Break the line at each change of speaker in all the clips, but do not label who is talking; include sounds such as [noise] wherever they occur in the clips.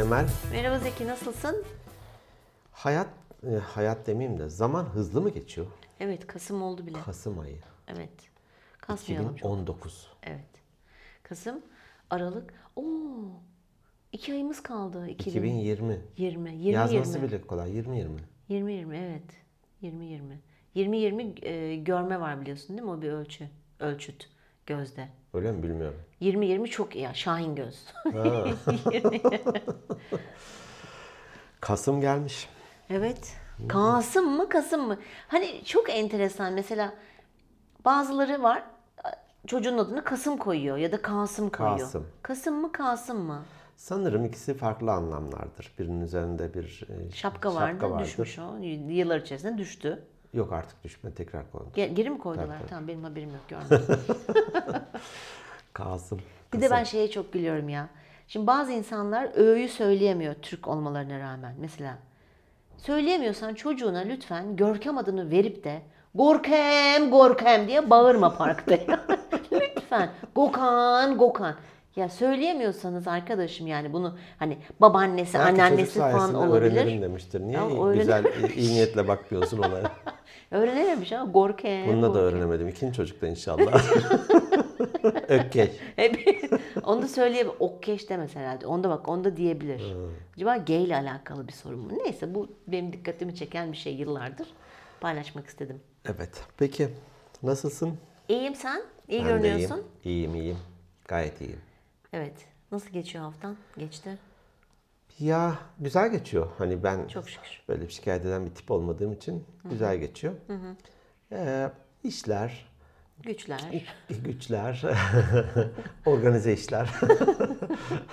Emel.
Merhaba Zeki nasılsın?
Hayat, e, hayat demeyeyim de zaman hızlı mı geçiyor?
Evet Kasım oldu bile.
Kasım ayı
Evet. Kasmayalım çok.
2019.
Evet. Kasım, Aralık. Oo. iki ayımız kaldı. 2020.
2020.
20 20
Yazması
20.
bile kolay. 2020.
20 20 evet. 20 20. 20 20 e, görme var biliyorsun değil mi? O bir ölçü. Ölçüt gözde.
Öyle mi bilmiyorum.
20 20 çok iyi. Şahin göz.
Kasım gelmiş.
Evet. Kasım mı Kasım mı? Hani çok enteresan mesela bazıları var çocuğun adını Kasım koyuyor ya da Kasım koyuyor.
Kasım.
Kasım mı Kasım mı?
Sanırım ikisi farklı anlamlardır. Birinin üzerinde bir e,
Şapka, vardı düşmüş o yıllar içerisinde düştü.
Yok artık düşme tekrar konu.
Ge- Geri mi koydular? Tamam benim haberim yok görmedim.
Kasım.
Bir de ben şeye çok gülüyorum ya. Şimdi bazı insanlar öğüyü söyleyemiyor Türk olmalarına rağmen. Mesela söyleyemiyorsan çocuğuna lütfen Görkem adını verip de Gorkem Gorkem diye bağırma parkta. [laughs] lütfen Gokan Gokan. Ya söyleyemiyorsanız arkadaşım yani bunu hani babaannesi,
Belki
anneannesi
çocuk
falan
sayesinde
olabilir.
öğrenirim demiştir. Niye
Ya,
iyi-
öğrenim-
güzel iyi- iyi niyetle bakmıyorsun olaya?
[laughs] Öğrenememiş ama Gorkem.
Bununla da
Gorkem.
öğrenemedim. İkinci çocukta inşallah. [laughs] Ökkeş.
Evet. [laughs] onu da söyleyebilir. Okkeş demez herhalde. Onda bak onda diyebilir.
Hmm.
Acaba gay ile alakalı bir sorun mu? Neyse bu benim dikkatimi çeken bir şey yıllardır. Paylaşmak istedim.
Evet. Peki. Nasılsın?
İyiyim sen? İyi
Ben de
görünüyorsun.
iyiyim. İyiyim iyiyim. Gayet iyiyim.
Evet. Nasıl geçiyor haftan? Geçti.
Ya güzel geçiyor. Hani ben
Çok şükür.
böyle bir şikayet eden bir tip olmadığım için güzel geçiyor. Ee, işler, [laughs]
Güçler.
güçler, [laughs] organize işler. [laughs]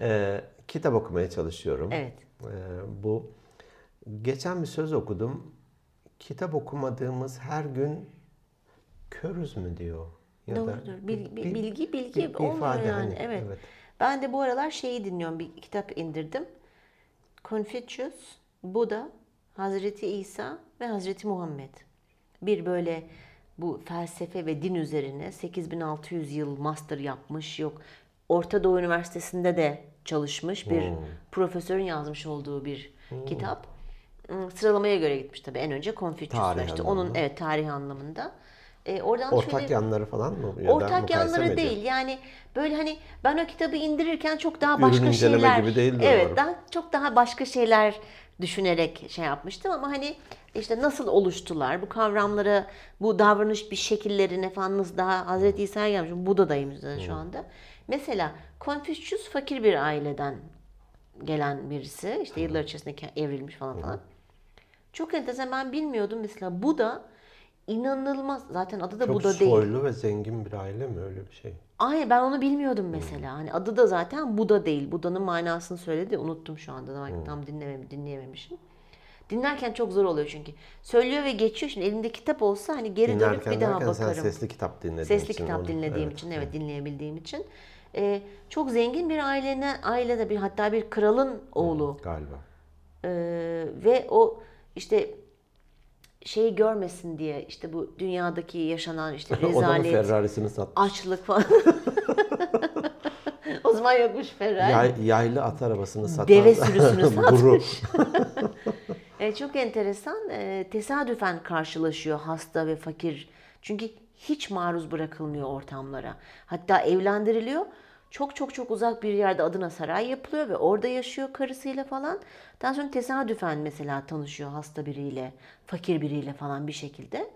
Ee, kitap okumaya çalışıyorum.
Evet.
Ee, bu geçen bir söz okudum. Kitap okumadığımız her gün körüz mü diyor. Ya da
Doğrudur.
bir-
Bil- bi- bilgi bilgi
bir
olmuyor
ifade
yani.
hani,
evet.
evet.
Ben de bu aralar şeyi dinliyorum. Bir kitap indirdim. Confucius, Buda, Hazreti İsa ve Hazreti Muhammed. Bir böyle bu felsefe ve din üzerine 8600 yıl master yapmış yok. Orta Doğu Üniversitesi'nde de çalışmış bir
Hmm.
profesörün yazmış olduğu bir kitap. Hmm, Sıralamaya göre gitmiş tabii. En önce Confucius'la
Tarih
işte
anlamında.
onun evet tarih anlamında. Ee, oradan
Ortak
şöyle
yanları falan mı? Ya da
ortak
mukayese mi
yanları
ediyor?
değil. Yani böyle hani ben o kitabı indirirken çok daha
Ürün
başka
inceleme
şeyler
gibi değildi umarım.
Evet, daha çok daha başka şeyler düşünerek şey yapmıştım ama hani işte nasıl oluştular bu kavramlara, bu davranış bir şekillerine falan nasıl daha
Hmm.
Hazreti İsa'ya gelmiş. Buda'dayım zaten şu anda. Mesela Confucius fakir bir aileden gelen birisi. işte
Hmm.
yıllar içerisinde ke- evrilmiş falan falan. Çok enteresan ben bilmiyordum mesela Buda inanılmaz zaten adı da
Çok
Buda değil.
soylu ve zengin bir aile mi öyle bir şey?
Ay ben onu bilmiyordum mesela. Hani adı da zaten Buda değil. Buda'nın manasını söyledi. Unuttum şu anda. Tam, tam dinlemem, dinleyememişim. Dinlerken çok zor oluyor çünkü. Söylüyor ve geçiyor. Şimdi elimde kitap olsa hani geri dönüp
Dinlerken
bir daha
derken sen
bakarım.
sesli kitap dinlediğin
Sesli
için
kitap
onu-
dinlediğim
evet.
için, evet dinleyebildiğim için. Ee, çok zengin bir ailene, ailede bir hatta bir kralın oğlu.
Galiba. [laughs]
Ee, ve o işte şeyi görmesin diye işte bu dünyadaki yaşanan
[laughs]
işte
O da mı
rezalet,
Ferrari'sini sattı?
açlık falan. [laughs] o zaman yokmuş Ferrari.
Yay- yaylı at arabasını satan [laughs]
Deve sürüsünü
guru.
[laughs] E, çok enteresan. E, tesadüfen karşılaşıyor hasta ve fakir. Çünkü hiç maruz bırakılmıyor ortamlara. Hatta evlendiriliyor. Çok çok çok uzak bir yerde adına saray yapılıyor ve orada yaşıyor karısıyla falan. Daha sonra tesadüfen mesela tanışıyor hasta biriyle, fakir biriyle falan bir şekilde.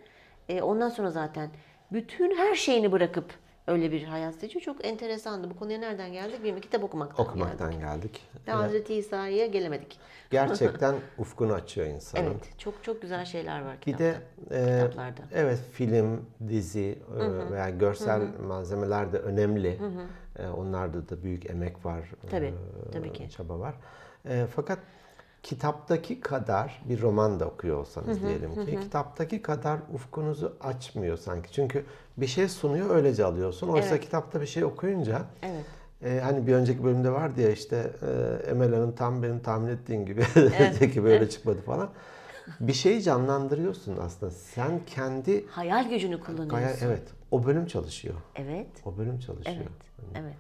E, ondan sonra zaten bütün her şeyini bırakıp öyle bir hayat seçiyor. Çok enteresandı. Bu konuya nereden geldik bilmiyorum. Kitap okumaktan geldik.
Okumaktan geldik.
Ve Hazreti İsa'ya gelemedik.
Gerçekten ufkunu açıyor insanın.
Evet, çok çok güzel şeyler var
Bir
kitapta.
de e,
kitaplarda.
evet film, dizi e, veya görsel malzemeler de önemli. E, onlarda da büyük emek var.
Tabii,
e,
tabii ki.
Çaba var. E, fakat kitaptaki kadar bir roman da okuyor olsanız diyelim ki kitaptaki kadar ufkunuzu açmıyor sanki. Çünkü bir şey sunuyor öylece alıyorsun. Oysa kitapta bir şey okuyunca
Evet.
e, hani bir önceki bölümde vardı ya işte e, Emel Hanım tam benim tahmin ettiğim gibi [laughs] öteki böyle çıkmadı falan. Bir şeyi canlandırıyorsun aslında. Sen kendi
Hayal gücünü kullanıyorsun.
gaya evet o bölüm çalışıyor.
Evet,
O bölüm çalışıyor.
evet, evet.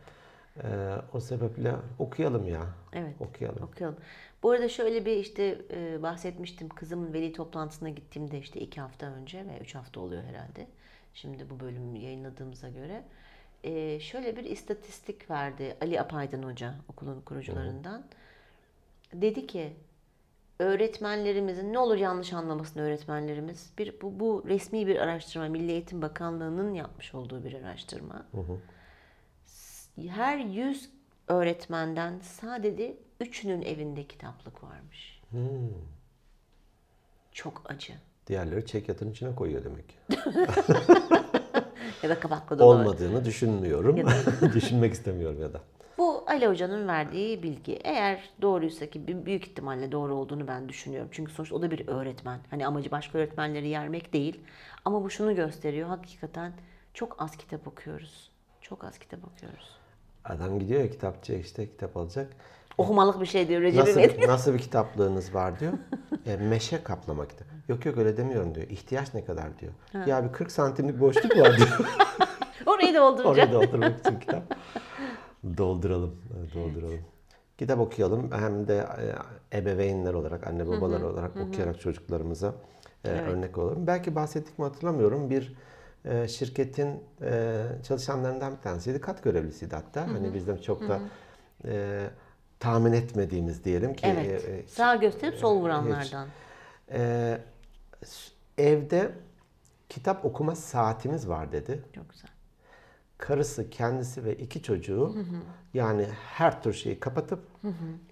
Ee, o sebeple okuyalım ya.
Evet.
Okuyalım.
Okuyalım. Bu arada şöyle bir işte e, bahsetmiştim. Kızımın veli toplantısına gittiğimde işte iki hafta önce ve üç hafta oluyor herhalde. Şimdi bu bölümü yayınladığımıza göre. E, şöyle bir istatistik verdi Ali Apaydın Hoca okulun kurucularından. Dedi ki öğretmenlerimizin ne olur yanlış anlamasın öğretmenlerimiz. Bir, bu, bu resmi bir araştırma. Milli Eğitim Bakanlığı'nın yapmış olduğu bir araştırma her 100 öğretmenden sadece 3'ünün evinde kitaplık varmış. Çok acı.
Diğerleri çek yatın içine koyuyor demek ki.
Ya da kapaklı dolabı.
Olmadığını düşünmüyorum. [laughs] Düşünmek istemiyorum ya da.
Bu Ali Hoca'nın verdiği bilgi. Eğer doğruysa ki b- büyük ihtimalle doğru olduğunu ben düşünüyorum. Çünkü sonuçta o da bir öğretmen. Hani amacı başka öğretmenleri yermek değil. Ama bu şunu gösteriyor. Hakikaten çok az kitap okuyoruz. Çok az kitap okuyoruz.
Adam gidiyor ya kitapçıya işte kitap alacak.
Okumalık bir şey diyor Recep
Nasıl,
İvedik.
nasıl bir kitaplığınız var diyor. E, meşe kaplama kitap. Yok yok öyle demiyorum diyor. İhtiyaç ne kadar diyor. Ya bir 40 santimlik boşluk var diyor.
[laughs] Orayı da
Oraya
dolduracağım.
doldurmak için kitap. [laughs] Dolduralım. e, Dolduralım. Kitap okuyalım. Hem de e, ebeveynler olarak, anne babalar olarak okuyarak çocuklarımıza e, örnek olalım. Belki bahsettik mi hatırlamıyorum. Bir e, şirketin e, çalışanlarından bir tanesiydi. Kat görevlisiydi hatta. Hani bizden çok da e, tahmin etmediğimiz diyelim ki
Evet.
e, e,
Sağ gösterip sol vuranlardan.
Ee, s- e, evde kitap okuma saatimiz var dedi.
Çok güzel.
Karısı, kendisi ve iki çocuğu yani her tür şeyi kapatıp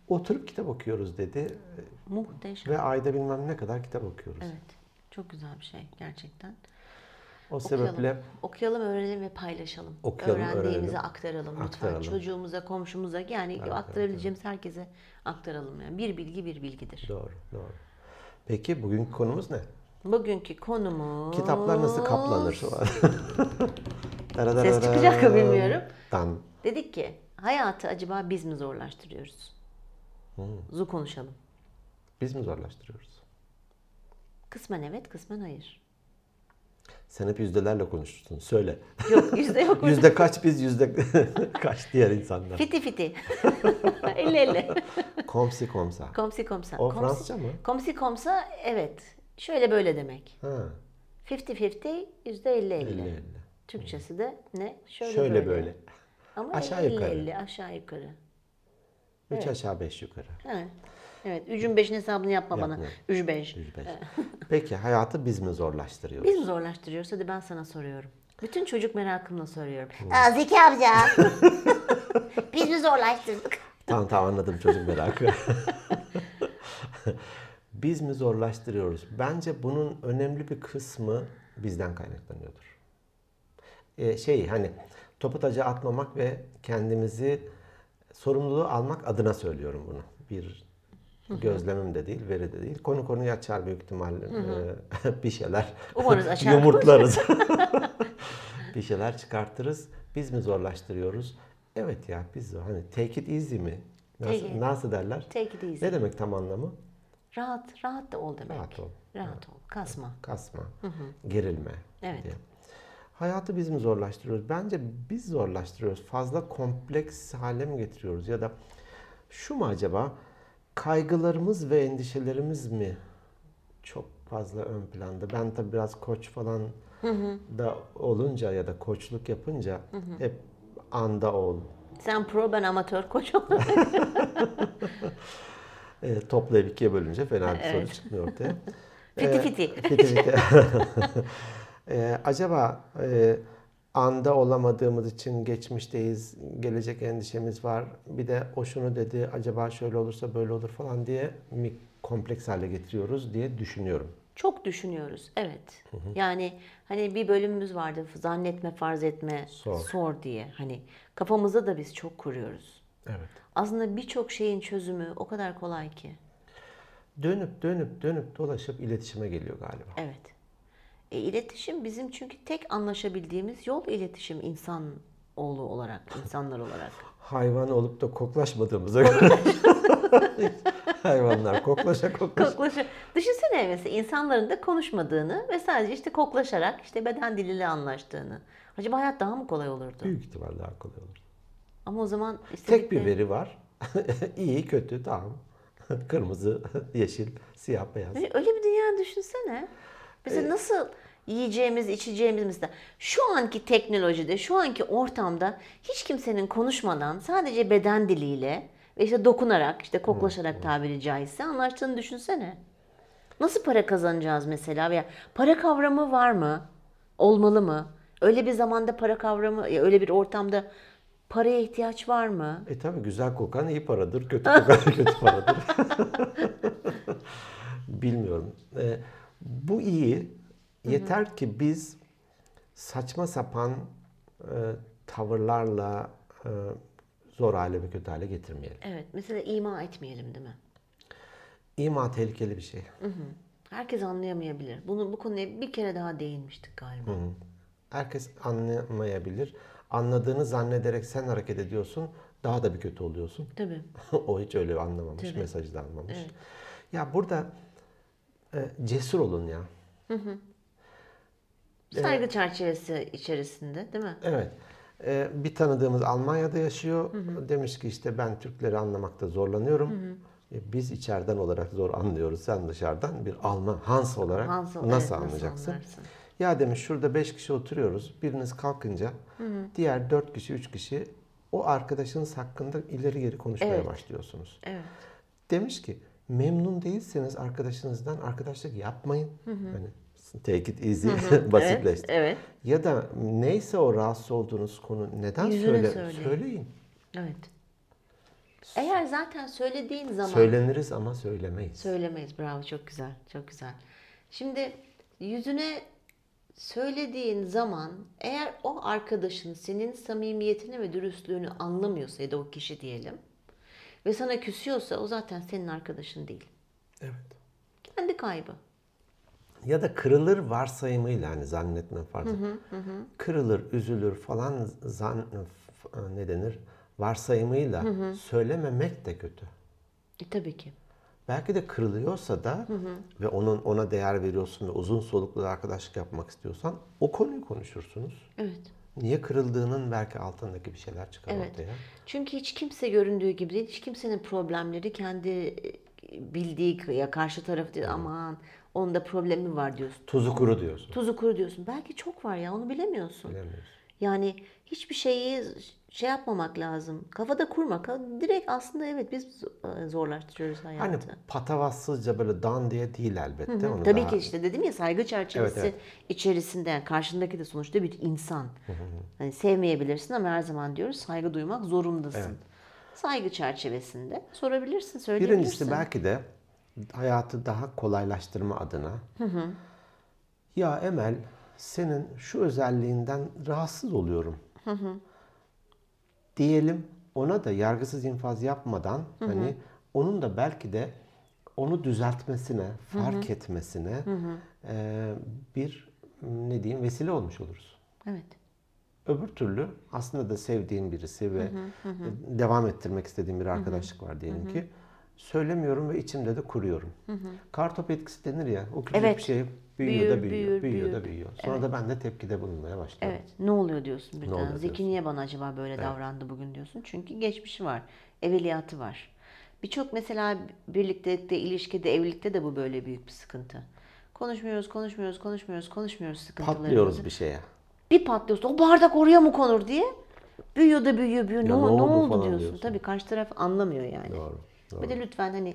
oturup kitap okuyoruz dedi.
Muhteşem.
Ve ayda bilmem ne kadar kitap okuyoruz.
Evet. Çok güzel bir şey gerçekten.
O sebeple
Okuyalım, öğrenelim ve paylaşalım.
Okuyalım,
Öğrendiğimizi
öğrenelim.
aktaralım lütfen.
Aktaralım.
Çocuğumuza, komşumuza yani aktarabileceğimiz herkese aktaralım. Yani bir bilgi bir bilgidir.
doğru, doğru. Peki bugünkü konumuz ne?
Bugünkü konumuz
Kitaplar nasıl kaplanır? [laughs]
Ses çıkacak mı bilmiyorum.
Dan.
Dedik ki hayatı acaba biz mi zorlaştırıyoruz?
Hmm.
Zu konuşalım.
Biz mi zorlaştırıyoruz?
Kısmen evet, kısmen hayır. [laughs]
Sen hep yüzdelerle konuştun. Söyle.
Yok, yüzde yok.
Yüzde kaç biz yüzde [laughs] kaç diğer insanlar?
fiti fiti. [laughs] elli elli.
Komsi komsa.
Komsi komsa.
O
Komsi-
Fransızca mı?
Komsi komsa evet. Şöyle böyle demek.
Ha,
50-50, %50-50.
elli elli.
Türkçesi de ne? Şöyle,
Şöyle
böyle.
böyle.
Ama
Aşağı
50,
yukarı.
50, aşağı yukarı.
Üç aşağı beş yukarı.
Ha. Evet, 3'ün 5'in hesabını yapma bana.
Yapma.
3 5.
Üç beş.
[laughs]
Peki hayatı biz mi zorlaştırıyoruz?
Biz mi zorlaştırıyoruz? Hadi ben sana soruyorum. Bütün çocuk merakımla soruyorum.
Aa, Zeki amca. [laughs] Biz mi zorlaştırdık?
Tamam tamam anladım çocuk
[laughs]
merakı. [laughs] biz mi zorlaştırıyoruz? Bence bunun önemli bir kısmı bizden kaynaklanıyordur. Ee, şey hani topu taca atmamak ve kendimizi sorumluluğu almak adına söylüyorum bunu. Bir gözlemim de değil, veri de değil. Konu konuyu açar büyük ihtimalle Ee, [laughs] bir şeyler [laughs]
Umarız açar.
yumurtlarız. bir şeyler çıkartırız. Biz mi zorlaştırıyoruz? Evet ya biz zor. Hani take it easy mi? Nasıl,
Take it.
nasıl derler?
Take it easy.
Ne demek tam anlamı?
Rahat, rahat da ol demek.
Rahat ol.
Rahat ol. Kasma.
Kasma, gerilme
Evet.
diye. Hayatı biz mi zorlaştırıyoruz? Bence biz zorlaştırıyoruz. Fazla kompleks hale mi getiriyoruz? Ya da şu mu acaba? Kaygılarımız ve endişelerimiz mi çok fazla ön planda? Ben tabii biraz koç falan da olunca ya da koçluk yapınca hep anda ol,
Sen pro ben amatör
[laughs]
koç ol.
E, toplayıp ikiye bölünce fena bir sonuç
Evet.
çıkmıyor
[laughs]
ortaya.
Fiti
E,
fiti.
fiti [laughs] fiti. E, acaba e, anda olamadığımız için geçmişteyiz, gelecek endişemiz var. Bir de o şunu dedi, acaba şöyle olursa böyle olur falan diye mi kompleks hale getiriyoruz diye düşünüyorum.
Çok düşünüyoruz. Evet. Yani hani bir bölümümüz vardı zannetme, farz etme,
Sor.
sor diye. Hani kafamızda da biz çok kuruyoruz.
Evet.
Aslında birçok şeyin çözümü o kadar kolay ki.
Dönüp dönüp dönüp dolaşıp iletişime geliyor galiba.
Evet. E, iletişim bizim çünkü tek anlaşabildiğimiz yol iletişim insan
[laughs]
oğlu olarak, insanlar olarak.
Hayvan olup da koklaşmadığımıza [laughs] göre. Hayvanlar koklaşa koklaşa.
Koklaşa. Düşünsene mesela insanların da konuşmadığını ve sadece işte koklaşarak işte beden diliyle anlaştığını. Acaba hayat daha mı kolay olurdu?
Büyük ihtimalle akıllı olur.
Ama o zaman
Tek bir
istedikleri-
veri var. [laughs] İyi, kötü, tamam. [laughs] Kırmızı, [laughs] yeşil, siyah, beyaz.
Öyle- Öyle bir dünya düşünsene. Bize nasıl yiyeceğimiz, içeceğimiz mesela şu anki teknolojide, şu anki ortamda hiç kimsenin konuşmadan sadece beden diliyle ve işte dokunarak, işte koklaşarak tabiri caizse anlaştığını düşünsene. Nasıl para kazanacağız mesela veya para kavramı var mı? Olmalı mı? Öyle bir zamanda para kavramı, ya öyle bir ortamda paraya ihtiyaç var mı?
E tabii güzel kokan iyi paradır, kötü kokan kötü paradır. [laughs] Bilmiyorum. E, bu iyi. Yeter ki biz saçma sapan e, tavırlarla e, zor hale ve kötü hale getirmeyelim.
Evet, mesela ima etmeyelim değil mi?
İma tehlikeli bir şey.
Herkes anlayamayabilir. Bunu bu konuya bir kere daha değinmiştik galiba.
Herkes anlamayabilir. Anladığını zannederek sen hareket ediyorsun, daha da bir kötü oluyorsun.
Tabii.
[laughs] o hiç öyle anlamamış, mesajı da anlamamış. Ya burada e, cesur olun ya.
Saygı çerçevesi içerisinde, değil mi?
Evet. E, bir tanıdığımız Almanya'da yaşıyor. Demiş ki işte ben Türkleri anlamakta zorlanıyorum. E, biz içeriden olarak zor anlıyoruz. Sen dışarıdan bir Alman, Hans olarak
Hansel, evet,
nasıl anlayacaksın?
anlarsın?
Ya demiş şurada beş kişi oturuyoruz. Biriniz kalkınca diğer dört kişi, üç kişi o arkadaşınız hakkında ileri geri konuşmaya
Evet.
başlıyorsunuz.
Evet.
Demiş ki memnun değilseniz arkadaşınızdan arkadaşlık yapmayın. Hani take it easy [laughs] basitleşti.
Evet,
Ya da neyse o rahatsız olduğunuz konu neden
Yüzüne
söyle,
söyleyin.
söyleyin.
evet, evet. Eğer zaten söylediğin zaman
Söyleniriz ama söylemeyiz.
söylemeyiz. Bravo, çok güzel, çok güzel. Şimdi yüzüne söylediğin zaman eğer o arkadaşın senin samimiyetini ve dürüstlüğünü anlamıyorsa ya da o kişi diyelim ve sana küsüyorsa o zaten senin arkadaşın değil.
evet.
Kendi kaybı.
Ya da kırılır varsayımıyla hani zannetme farzı. Kırılır, üzülür falan zan f- ne denir? Varsayımıyla söylememek de kötü.
E, tabii ki.
Belki de kırılıyorsa da ve onun ona değer veriyorsun ve uzun soluklu arkadaşlık yapmak istiyorsan o konuyu konuşursunuz.
Evet.
Niye kırıldığının belki altındaki bir şeyler çıkar
Evet.
ortaya.
Çünkü hiç kimse göründüğü gibi değil. Hiç kimsenin problemleri kendi e, bildiği k- ya karşı taraf diyor aman onda problemi var diyorsun.
Tuzu kuru diyorsun.
Tuzu kuru diyorsun. Belki çok var ya onu bilemiyorsun.
Bilemiyorsun.
Yani hiçbir şeyi şey yapmamak lazım. Kafada kurmak. Direkt aslında evet biz e, zorlaştırıyoruz hayatı.
Hani patavatsızca böyle dan diye değil elbette. Onu
Tabii
daha-
ki işte dedim ya saygı çerçevesi
Evet,
içerisinde yani karşındaki de sonuçta bir insan. Hani sevmeyebilirsin ama her zaman diyoruz saygı duymak zorundasın. Saygı çerçevesinde sorabilirsin, söyleyebilirsin.
Birincisi belki de hayatı daha kolaylaştırma adına. Ya Emel senin şu özelliğinden rahatsız oluyorum. Diyelim ona da yargısız infaz yapmadan hani onun da belki de onu düzeltmesine, fark etmesine e, bir ne diyeyim vesile olmuş oluruz.
Evet.
Öbür türlü aslında da sevdiğin birisi ve e, devam ettirmek istediğin bir arkadaşlık var diyelim ki. Söylemiyorum ve içimde de kuruyorum. Kartop etkisi denir ya. O küçük
Evet.
bir şey büyüyor da
Büyür,
büyüyor,
büyür,
büyüyor da
büyür.
büyüyor. Sonra da ben de tepkide bulunmaya başlıyorum.
Evet. Ne oluyor diyorsun birden.
oluyor
Zeki
diyorsun.
niye bana acaba böyle davrandı bugün diyorsun. Çünkü geçmişi var. Evveliyatı var. Birçok mesela birliktelikte, ilişkide, evlilikte de bu böyle büyük bir sıkıntı. Konuşmuyoruz, konuşmuyoruz, konuşmuyoruz, konuşmuyoruz sıkıntılarımızı.
Patlıyoruz bir şeye.
bir patlıyorsun. O bardak oraya mı konur diye. Büyüyor da büyüyor büyüyor. Ne,
ne
o- ne
oldu
oldu
falan
diyorsun.
diyorsun.
Tabii karşı taraf anlamıyor yani.
Doğru. doğru.
Bir de lütfen hani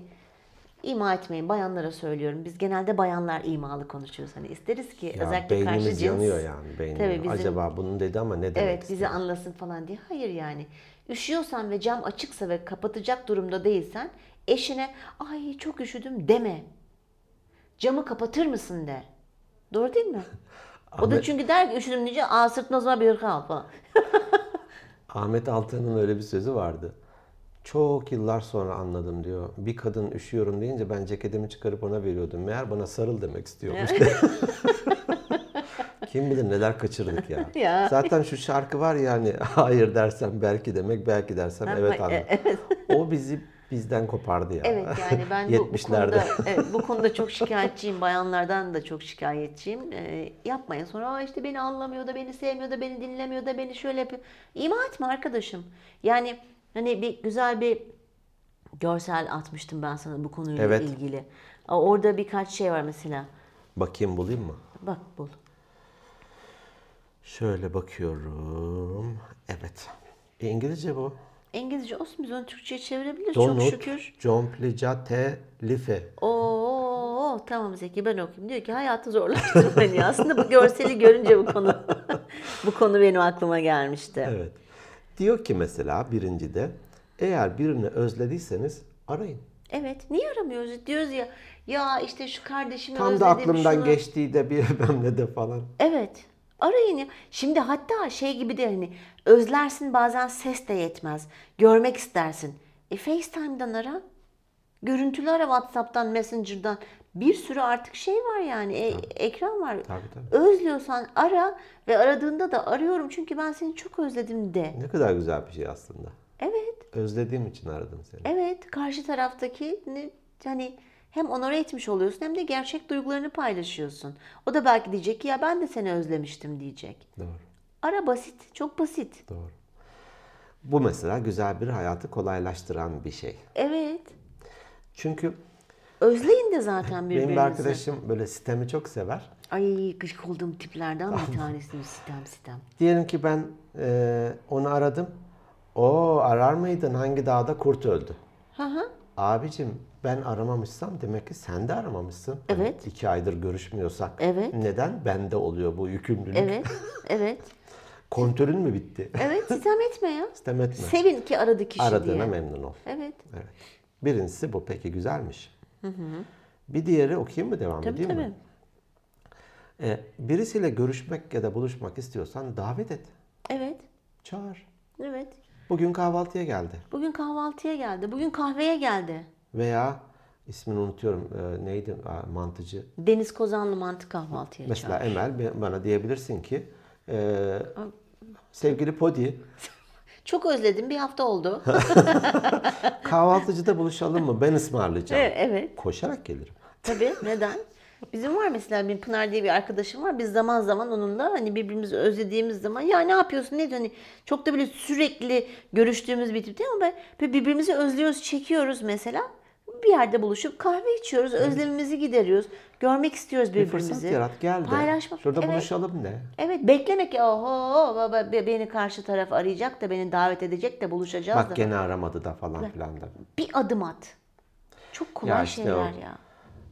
ima etmeyin. Bayanlara söylüyorum. Biz genelde bayanlar imalı konuşuyoruz. Hani isteriz ki
Ya
özellikle karşı
beynimiz
cins.
yanıyor yani. Beynimiz.
Tabii bizim-
Acaba bunu dedi ama ne demek
Evet bizi
istiyor?
anlasın falan diye. Hayır yani. Üşüyorsan ve cam açıksa ve kapatacak durumda değilsen eşine ay çok üşüdüm deme. Camı kapatır mısın de. Doğru değil mi? O da
Ahmet-
çünkü der ki üşüdüm diyece aa sırtına o zaman bir hırka al falan.
Ahmet Altan'ın öyle bir sözü vardı. Çok yıllar sonra anladım diyor. Bir kadın üşüyorum deyince ben ceketimi çıkarıp ona veriyordum. Meğer bana sarıl demek istiyormuş. [laughs] Kim bilir neler kaçırdık ya.
[laughs] Ya.
Zaten şu hani, [laughs] şarkı var yani hayır dersem belki demek, belki dersem evet
Ama-
anlar.
e- evet.
[laughs] O bizi bizden kopardı ya. [laughs]
Evet yani ben bu, bu
70'lerde.
konuda evet, bu konuda çok şikayetçiyim. Bayanlardan da çok şikayetçiyim. Ee, yapmayın. Sonra "Aa işte beni anlamıyor da beni sevmiyor da beni dinlemiyor da beni şöyle yapıyor. İma etme arkadaşım. Yani hani bir güzel bir görsel atmıştım ben sana bu konuyla
Evet.
ilgili. Aa, Orada birkaç şey var mesela.
Bakayım bulayım mı?
Bak bul.
Şöyle bakıyorum. Evet. E, İngilizce bu.
İngilizce olsun biz onu Türkçe'ye çevirebiliriz çok
Donut,
şükür.
complicate, life.
Oo tamam Zeki ben okuyayım. Diyor ki hayatı zorlaştırmayın. ya. Aslında bu görseli görünce bu konu [laughs] bu konu benim aklıma gelmişti.
Evet. Diyor ki mesela birincide eğer birini özlediyseniz arayın.
Evet, niye aramıyoruz diyoruz ya. Ya işte şu kardeşimi
Tam
özledim
da aklımdan
şunu.
geçtiği de [laughs] bilmem ne de falan.
Evet. Arayın ya. Şimdi hatta şey gibi de hani özlersin bazen ses de yetmez. Görmek istersin. E FaceTime'dan ara. Görüntülü ara WhatsApp'tan, Messenger'dan. Bir sürü artık şey var yani. e- ekran var.
Tabii, tabii.
Özlüyorsan ara ve aradığında da arıyorum çünkü ben seni çok özledim de.
Ne kadar güzel bir şey aslında.
Evet.
Özlediğim için aradım seni.
Evet, karşı taraftaki hani hem onore etmiş oluyorsun hem de gerçek duygularını paylaşıyorsun. O da belki diyecek ki ya ben de seni özlemiştim diyecek.
Doğru,
Ara basit, çok basit.
doğru. Bu mesela güzel bir hayatı kolaylaştıran bir şey.
Evet.
Çünkü
Özleyin de zaten
benim bir
birbirinizi.
arkadaşım böyle sistemi çok sever.
Ay gıcık olduğum tiplerden
[laughs]
bir tanesi sitem sitem.
Diyelim ki ben e, onu aradım. O arar mıydın? Hangi dağda kurt öldü?
Hı hı.
Abicim ben aramamışsam demek ki sen de aramamışsın. Hani
Evet.
iki aydır görüşmüyorsak.
Evet.
Neden? Bende oluyor bu yükümlülük.
Evet, evet.
Kontörün mü bitti?
Evet, sitem etme ya.
Sistem etme.
Sevin ki aradı kişi
Aradığına
diye.
memnun ol.
Evet.
Evet. Birincisi bu. Peki güzelmiş. Bir diğeri okuyayım mı devam
Tabii
edeyim
tabii.
mi? E, birisiyle görüşmek ya da buluşmak istiyorsan davet et.
Evet.
Çağır.
Evet.
Bugün kahvaltıya geldi.
Bugün kahvaltıya geldi. Bugün kahveye geldi.
Veya ismini unutuyorum. e, neydi Aa, mantıcı?
Deniz Kozanlı mantı kahvaltıya
Mesela Emel be- bana diyebilirsin ki e, sevgili Podi
Çok özledim. Bir hafta
[laughs]
oldu.
kahvaltıcıda buluşalım mı? Ben ısmarlayacağım.
evet, evet.
Koşarak gelirim.
Tabii. Neden? Bizim var mesela bir Pınar diye bir arkadaşım var. Biz zaman zaman onunla hani birbirimizi özlediğimiz zaman ya ne yapıyorsun ne diyorsun? Hani çok da böyle sürekli görüştüğümüz bir tip değil ama böyle birbirimizi özlüyoruz, çekiyoruz mesela. Bir yerde buluşup kahve içiyoruz, özlemimizi gideriyoruz. Görmek istiyoruz
Bir fırsat
birbirimizi.
yarat gel de.
Paylaşmak.
Şurada
evet.
buluşalım ne?
Evet beklemek ya oho baba, be- beni karşı taraf arayacak da beni davet edecek de buluşacağız da.
Bak gene aramadı da falan filan da.
bir adım at. Çok kolay
Ya işte
şeyler
o.
ya.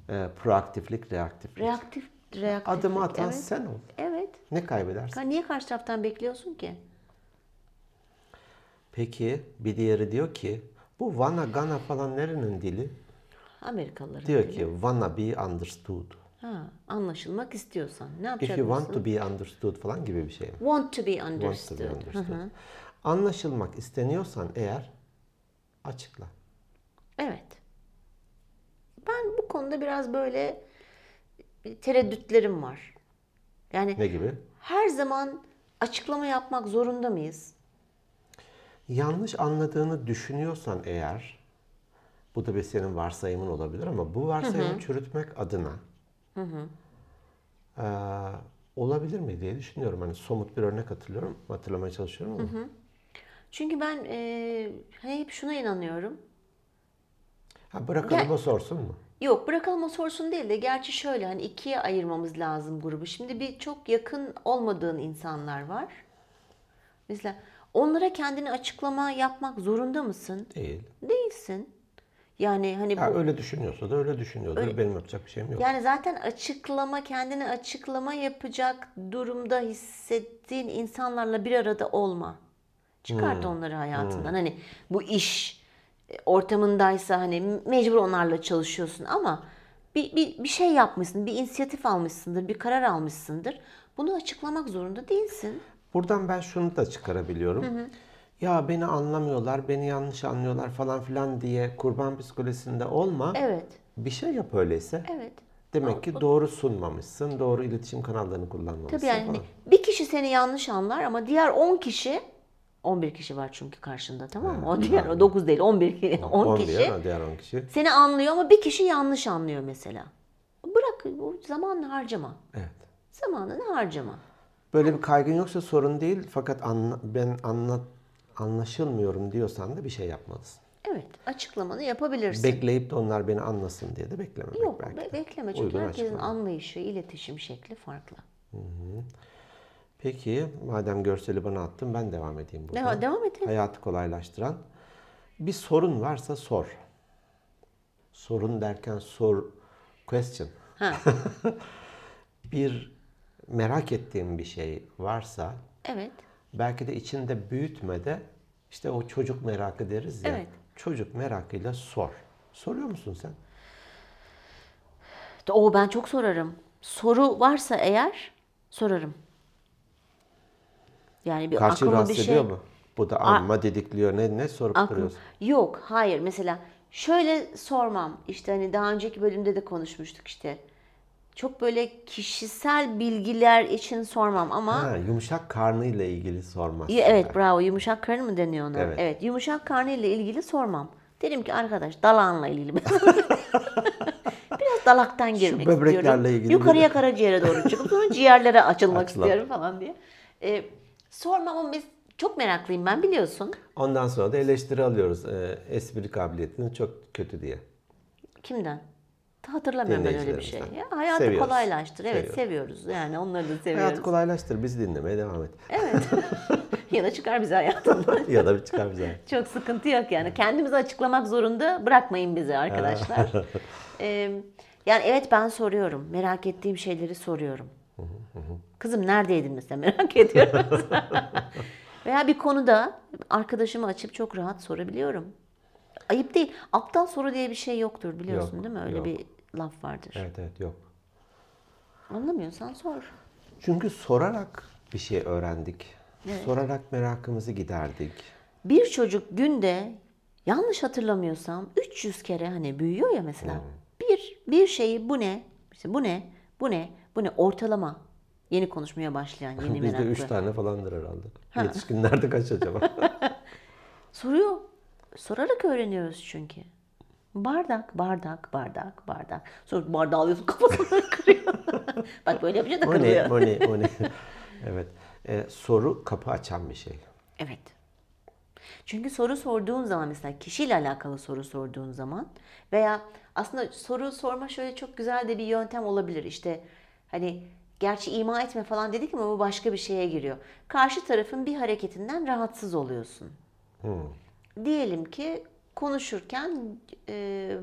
E, proaktiflik, reaktiflik.
Reaktif, reaktif.
Adımı atan
evet.
sen ol.
Evet.
Ne kaybedersin?
Ya niye karşı taraftan bekliyorsun ki?
Peki bir diğeri diyor ki bu Vana Gana falan nerenin dili?
Amerikalıların
Diyor
dili.
ki wanna be understood.
Ha, anlaşılmak istiyorsan ne
If
yapacaksın?
you want to be understood falan gibi bir şey mi?
Want to be
Want to
understood.
be understood. Anlaşılmak isteniyorsan eğer açıkla.
Evet. Ben bu konuda biraz böyle e, tereddütlerim var. Yani
Ne gibi?
her zaman açıklama yapmak zorunda mıyız?
Yanlış anladığını düşünüyorsan eğer bu da bir senin varsayımın olabilir ama bu varsayımı çürütmek adına eee, olabilir mi diye düşünüyorum. Hani somut bir örnek hatırlıyorum. Hatırlamaya çalışıyorum ama.
Çünkü ben e, hani hep şuna inanıyorum.
Ha bırakalım
Gel-
o sorsun mu?
Yok bırakalım o sorsun değil de gerçi şöyle hani ikiye ayırmamız lazım grubu. Şimdi bir çok yakın olmadığın insanlar var. Mesela onlara kendini açıklama yapmak zorunda mısın?
Değil.
Değilsin. Yani hani
Ya
bu
öyle düşünüyorsa da öyle düşünüyordur. Benim yapacak bir şeyim yok.
yani zaten açıklama kendini açıklama yapacak durumda hissettiğin insanlarla bir arada olma. Çıkart
Hmm.
onları hayatından. Hani bu iş e, ortamındaysa hani mecbur onlarla çalışıyorsun ama bir, bir, bir şey yapmışsın, bir inisiyatif almışsındır, bir karar almışsındır. Bunu açıklamak zorunda değilsin.
Buradan ben şunu da çıkarabiliyorum. Ya beni anlamıyorlar, beni yanlış anlıyorlar falan filan diye kurban psikolojisinde olma.
Evet,
Bir şey yap öyleyse.
evet.
Demek ki doğru sunmamışsın, doğru
hani
iletişim kanallarını kullanmamışsın
Tabii yani
falan.
bir kişi seni yanlış anlar ama diğer 10 kişi 11 kişi var çünkü karşında tamam mı? O diğer o 9 değil 11 10
On
kişi.
diğer, diğer 10 kişi.
Seni anlıyor ama bir kişi yanlış anlıyor mesela. Bırak o zamanını harcama.
Evet.
Zamanını harcama.
Böyle bir kaygın yoksa sorun değil fakat anla- ben anla, anlaşılmıyorum diyorsan da bir şey yapmalısın.
Evet açıklamanı yapabilirsin.
Bekleyip de onlar beni anlasın diye de beklememek
Yok
belki.
be-
de.
bekleme çünkü
Uygun
herkesin
açıklama.
anlayışı, iletişim şekli farklı.
Peki madem görseli bana attın ben devam edeyim burada.
Deva- devam edelim.
Hayatı kolaylaştıran. Bir sorun varsa sor. Sorun derken sor, question.
Ha.
[laughs] bir merak ettiğim bir şey varsa
Evet.
belki de içinde büyütme de işte o çocuk merakı deriz ya.
Evet.
Çocuk merakıyla sor. Soruyor musun sen?
O ben çok sorarım. Soru varsa eğer sorarım. Yani bir
Karşı
aklıma bir
rahatsız
şey.
ediyor mu? Bu da amma dedikliyor. Ne ne sorup
Aklım-
duruyorsun?
Yok, hayır. Mesela şöyle sormam. İşte hani daha önceki bölümde de konuşmuştuk işte. Çok böyle kişisel bilgiler için sormam ama
Ha, yumuşak karnıyla ilgili sormaz.
Ya Evet bravo yumuşak karnı mı deniyor ona?
Evet.
Evet. yumuşak karnı ile ilgili sormam. Derim ki arkadaş dalağınla ilgili. [laughs] Biraz dalaktan girmek
böbreklerle
istiyorum.
ilgili
Yukarıya karaciğere doğru çıkıp sonra ciğerlere açılmak
Açılan.
istiyorum falan diye. Ee, sormam ama biz çok meraklıyım ben biliyorsun.
Ondan sonra da eleştiri alıyoruz. Ee, espri kabiliyetiniz çok kötü diye.
Kimden? Ta Hatırlamıyorum ben öyle bir şey.
Dinleyicilerimizden.
Ya, hayatı
Seviyoruz.
kolaylaştır. Evet
Seviyoruz.
seviyoruz. Yani onları da seviyoruz.
Hayatı kolaylaştır. Bizi dinlemeye devam et.
[laughs]
[laughs]
ya da çıkar bizi hayatından.
ya da bir çıkar bize.
Çok sıkıntı yok yani. Kendimizi açıklamak zorunda bırakmayın bizi arkadaşlar.
[laughs]
Ee, yani evet ben soruyorum. Merak ettiğim şeyleri soruyorum. Kızım neredeydin mesela [laughs] merak ediyorum. [laughs] Veya bir konuda arkadaşımı açıp çok rahat sorabiliyorum. Ayıp değil. Aptal soru diye bir şey yoktur biliyorsun
Yok,
değil mi? Öyle
yok.
bir laf vardır.
Evet evet yok.
Anlamıyorsan sor.
Çünkü sorarak bir şey öğrendik. Sorarak merakımızı giderdik.
Bir çocuk günde yanlış hatırlamıyorsam 300 kere hani büyüyor ya mesela.
Hmm.
Bir bir şeyi bu ne? İşte bu ne? Bu ne? Bu ne? Ortalama. Yeni konuşmaya başlayan
[laughs]
yeni
Bizde
meraklı.
üç tane falandır herhalde. Yetişkinlerde kaç
[laughs]
acaba?
Soruyor. Sorarak öğreniyoruz çünkü. Bardak, bardak, bardak, bardak. Sonra bardağı alıyorsun kafasını [laughs] kırıyor. Bak böyle yapınca da
o ne?
kırılıyor.
O ne? O ne? [laughs] evet. Ee, soru kapı açan bir şey.
Evet. Çünkü soru sorduğun zaman mesela kişiyle alakalı soru sorduğun zaman veya aslında soru sorma şöyle çok güzel de bir yöntem olabilir. İşte hani gerçi ima etme falan dedik ama bu başka bir şeye giriyor. Karşı tarafın bir hareketinden rahatsız oluyorsun. Diyelim ki konuşurken e,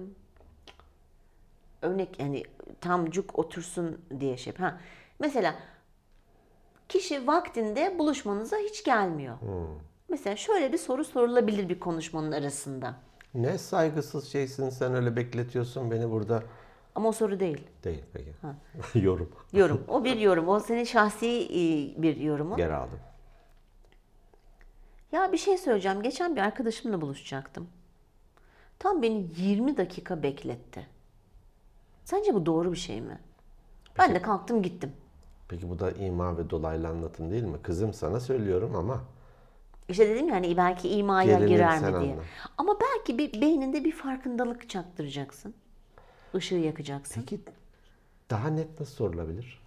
örnek yani tam cuk otursun diye şey. Ha. Mesela kişi vaktinde buluşmanıza hiç gelmiyor. Mesela şöyle bir soru sorulabilir bir konuşmanın arasında.
Ne saygısız şeysin sen öyle bekletiyorsun beni burada.
Ama o soru değil.
Değil peki. [laughs] Yorum.
Yorum. O bir yorum. O senin şahsi e, bir yorumun.
Geri aldım.
Ya bir şey söyleyeceğim. Geçen bir arkadaşımla buluşacaktım. Tam beni 20 dakika bekletti. Sence bu doğru bir şey mi? Ben de kalktım gittim.
Peki bu da ima ve dolaylı anlatım değil mi? Kızım sana söylüyorum ama
İşte dedim ya hani belki imaya
Gerilim
girer
sen
mi diye.
anla.
Ama belki bir beyninde bir farkındalık çaktıracaksın. Işığı yakacaksın.
peki daha net nasıl sorulabilir?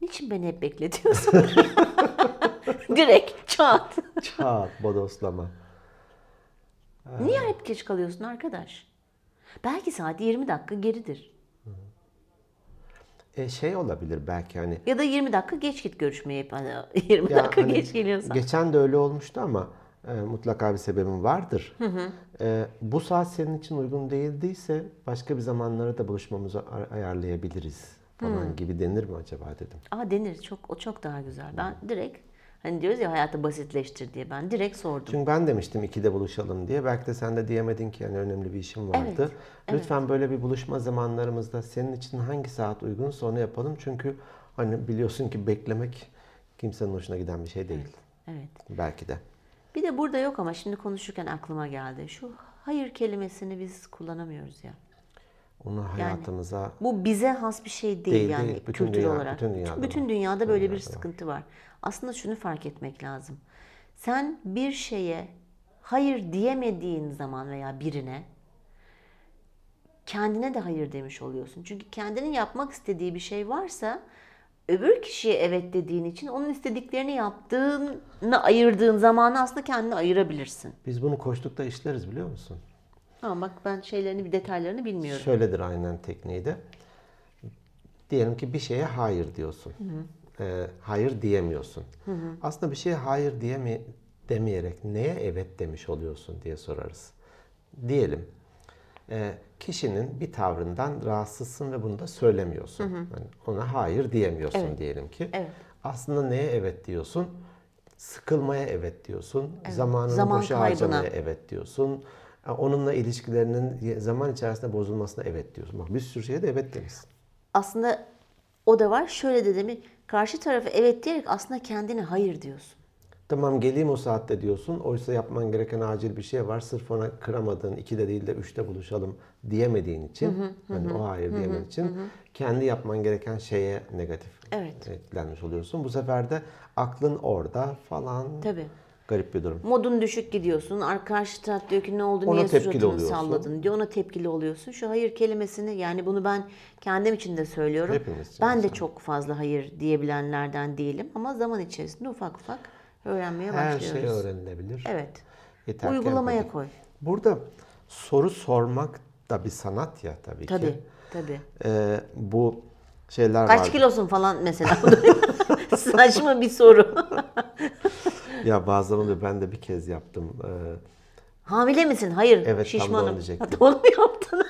Niçin beni hep bekletiyorsun? Direkt çat.
Çat, bodoslama.
Niye hep geç kalıyorsun arkadaş? Belki saat 20 dakika geridir.
E şey olabilir belki hani
[laughs] Ya da 20 dakika geç git görüşmeye. Hani [laughs] 20
Ya
dakika
hani
geç geliyorsan.
Geçen de öyle olmuştu ama e, mutlaka bir sebebim vardır. E, bu saat senin için uygun değildiyse başka bir zamanlara da buluşmamızı ay- ayarlayabiliriz falan gibi denir mi acaba dedim.
Aa denir çok o çok daha güzel. Ben direkt hani diyoruz ya hayatı basitleştir diye ben direkt sordum.
Çünkü ben demiştim ikide buluşalım diye. Belki de sen de diyemedin ki yani önemli bir işim vardı.
Evet,
Lütfen böyle bir buluşma zamanlarımızda senin için hangi saat uygunsa onu yapalım. Çünkü hani biliyorsun ki beklemek kimsenin hoşuna giden bir şey değil.
Evet.
Belki de.
Bir de burada yok ama şimdi konuşurken aklıma geldi. Şu hayır kelimesini biz kullanamıyoruz ya.
Onu hayatımıza
Bu bize has bir şey değil,
Değil,
yani
değil. Bütün
kültür
dünya-
olarak.
bütün dünyada var.
dünyada böyle bir sıkıntı var. Aslında şunu fark etmek lazım. Sen bir şeye hayır diyemediğin zaman veya birine kendine de hayır demiş oluyorsun. Çünkü kendinin yapmak istediği bir şey varsa öbür kişiye evet dediğin için onun istediklerini yaptığını ayırdığın zamanı aslında kendine ayırabilirsin.
biz bunu koçlukta işleriz biliyor musun?
Ama bak ben şeylerini bir detaylarını bilmiyorum.
Şöyledir aynen tekniği de. Diyelim ki bir şeye hayır diyorsun. Ee, hayır diyemiyorsun. Aslında bir şeye hayır diyeme demeyerek neye evet demiş oluyorsun diye sorarız. Diyelim e, kişinin bir tavrından rahatsızsın ve bunu da söylemiyorsun. Yani ona hayır diyemiyorsun diyelim ki.
Evet.
Aslında neye evet diyorsun? Sıkılmaya evet diyorsun. Zamanını
Zaman
boşa
kaybına.
harcamaya evet diyorsun. Ya Onunla ilişkilerinin zaman içerisinde bozulmasına evet diyorsun. Bak bir sürü şeye de evet demişsin.
aslında o da var. Şöyle de demek karşı tarafı evet diyerek aslında kendine hayır diyorsun.
Tamam geleyim o saatte diyorsun. Oysa yapman gereken acil bir şey var. Sırf ona kıramadığın, ikide değil de üçte buluşalım diyemediğin için. Hani o hayır diyemediğin için. Kendi yapman gereken şeye negatif
Evet.
etkilenmiş oluyorsun. Bu sefer de aklın orada falan.
Tabii.
Garip bir durum.
Modun düşük gidiyorsun. Ar- Karşı taraf diyor ki ne oldu
Ona
niye
tepkili
suratını
oluyorsun.
salladın diyor. Ona tepkili oluyorsun. Şu hayır kelimesini yani bunu ben kendim için de söylüyorum.
Hepimiz için
ben de çok fazla hayır diyebilenlerden değilim ama zaman içerisinde ufak ufak öğrenmeye
Her şey
başlıyoruz.
öğrenilebilir.
Evet.
Yeter ki
Uygulamaya
empati.
koy.
Burada soru sormak da bir sanat ya tabii,
Tabii.
ki.
Tabii.
Ee, bu şeyler Şey- var.
Kaç kilosun falan mesela. [laughs] Saçma bir soru.
Ya bazen oluyor ben de bir kez yaptım. Ee,
Hamile misin?
Evet,
Hayır.
tam da onu
Şişmanım.
diyecektim.
Ha, [laughs] Doğru mu yaptın?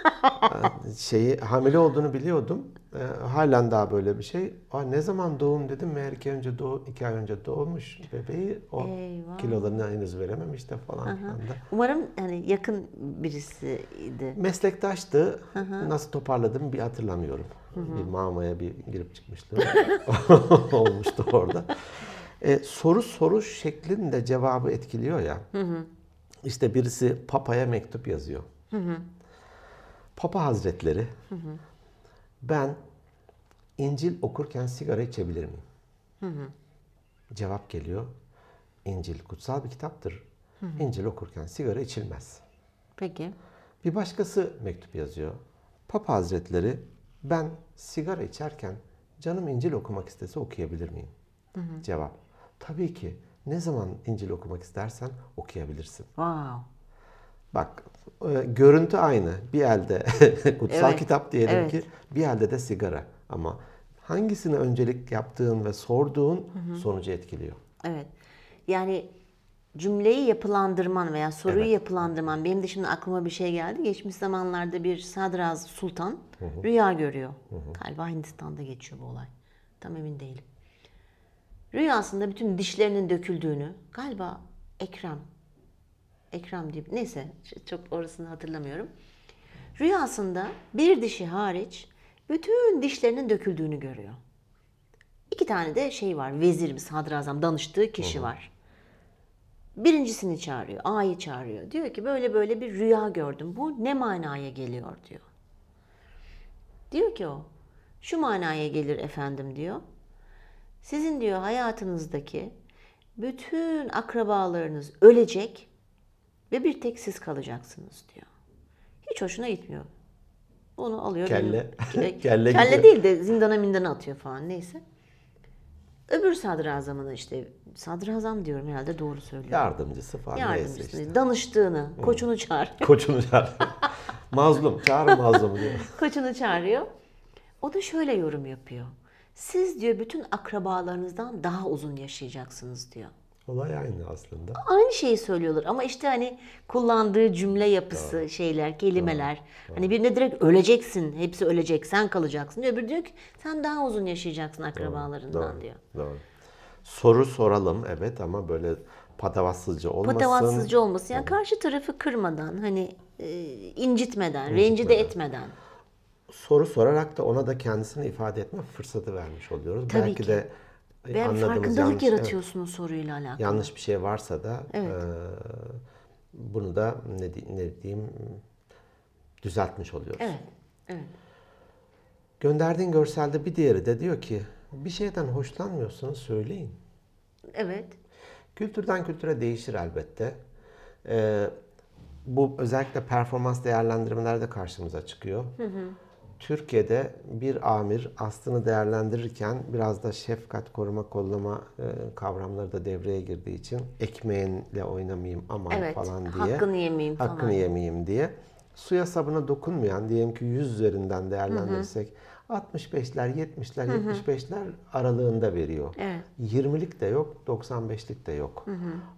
şeyi hamile olduğunu biliyordum. Ee, halen daha böyle bir şey. Aa, ne zaman doğum dedim. Meğer iki, önce doğ, iki ay önce doğmuş bebeği. O
Eyvah.
kilolarını henüz verememiş de falan filan da.
Umarım hani yakın birisiydi.
Meslektaştı. Nasıl toparladım bir hatırlamıyorum. Bir mamaya bir girip çıkmıştım. Olmuştu orada. E, soru soru şeklinde cevabı etkiliyor ya. İşte birisi papaya mektup yazıyor. Papa Hazretleri ben İncil okurken sigara içebilir miyim? Cevap geliyor. İncil kutsal bir kitaptır. İncil okurken sigara içilmez.
Peki.
Bir başkası mektup yazıyor. Papa Hazretleri ben sigara içerken canım İncil okumak istese okuyabilir miyim? Cevap. Tabii ki. Ne zaman İncil okumak istersen okuyabilirsin.
Wow.
Bak e, görüntü aynı. Bir elde [laughs] kutsal
Evet,
kitap diyelim
evet.
ki bir elde de sigara. Ama hangisine öncelik yaptığın ve sorduğun sonucu etkiliyor.
Evet. Yani cümleyi yapılandırman veya soruyu
Evet.
yapılandırman. Benim de şimdi aklıma bir şey geldi. Geçmiş zamanlarda bir sadraz sultan rüya görüyor. Galiba Hindistan'da geçiyor bu olay. Tam emin değilim. Rüyasında bütün dişlerinin döküldüğünü galiba Ekrem Ekrem diye neyse çok orasını hatırlamıyorum. Rüyasında bir dişi hariç bütün dişlerinin döküldüğünü görüyor. İki tane de şey var. Vezir mi, sadrazam danıştığı kişi var. Birincisini çağırıyor, ağayı çağırıyor. Diyor ki böyle böyle bir rüya gördüm. Bu ne manaya geliyor diyor. Diyor ki o, şu manaya gelir efendim diyor. Sizin diyor hayatınızdaki bütün akrabalarınız ölecek ve bir tek siz kalacaksınız diyor. Hiç hoşuna gitmiyor. Onu
[laughs]
alıyor.
Kelle.
benim-
Kelle gidiyor.
Kelle değil de zindana mindana atıyor falan neyse. Öbür sadrazamına işte sadrazam diyorum herhalde doğru söylüyorum.
Yardımcısı falan neyse
Yardımcısını,
işte.
danıştığını, koçunu çağır.
Koçunu çağır. [laughs] mazlum. Çağır mazlumu diyor.
[laughs] Koçunu çağırıyor. O da şöyle yorum yapıyor. Siz diyor bütün akrabalarınızdan daha uzun yaşayacaksınız diyor.
Olay aynı aslında.
Aynı şeyi söylüyorlar ama işte hani kullandığı cümle yapısı, şeyler, kelimeler. Hani birine direkt öleceksin, hepsi ölecek, sen kalacaksın diyor. Öbürü diyor ki sen daha uzun yaşayacaksın akrabalarından
Doğru,
diyor.
Doğru. Soru soralım evet ama böyle patavatsızca olmasın.
Patavatsızca olması. Yani karşı tarafı kırmadan, hani e, incitmeden, rencide etmeden.
Soru sorarak da ona da kendisini ifade etme fırsatı vermiş oluyoruz.
Tabii
Belki
ki.
de e,
Ve
anladığımız
farkındalık
yanlış, evet,
yaratıyorsunuz soruyla alakalı.
yanlış bir şey varsa da e, bunu da ne, di- ne diyeyim düzeltmiş oluyoruz.
Evet. Evet.
Gönderdiğin görselde bir diğeri de diyor ki bir şeyden hoşlanmıyorsanız söyleyin.
Evet.
Kültürden kültüre değişir elbette. Ee, bu özellikle performans değerlendirmelerde karşımıza çıkıyor. Türkiye'de bir amir aslını değerlendirirken biraz da şefkat, koruma, kollama e, kavramları da devreye girdiği için ekmeğinle oynamayayım aman
Evet.
falan diye.
Hakkını yemeyeyim
hakkını
falan.
yemeyeyim diye. Suya sabuna dokunmayan diyelim ki 100 üzerinden değerlendirirsek 65'ler, 70'ler, 75'ler aralığında veriyor.
Evet.
20'lik de yok, 95'lik de yok.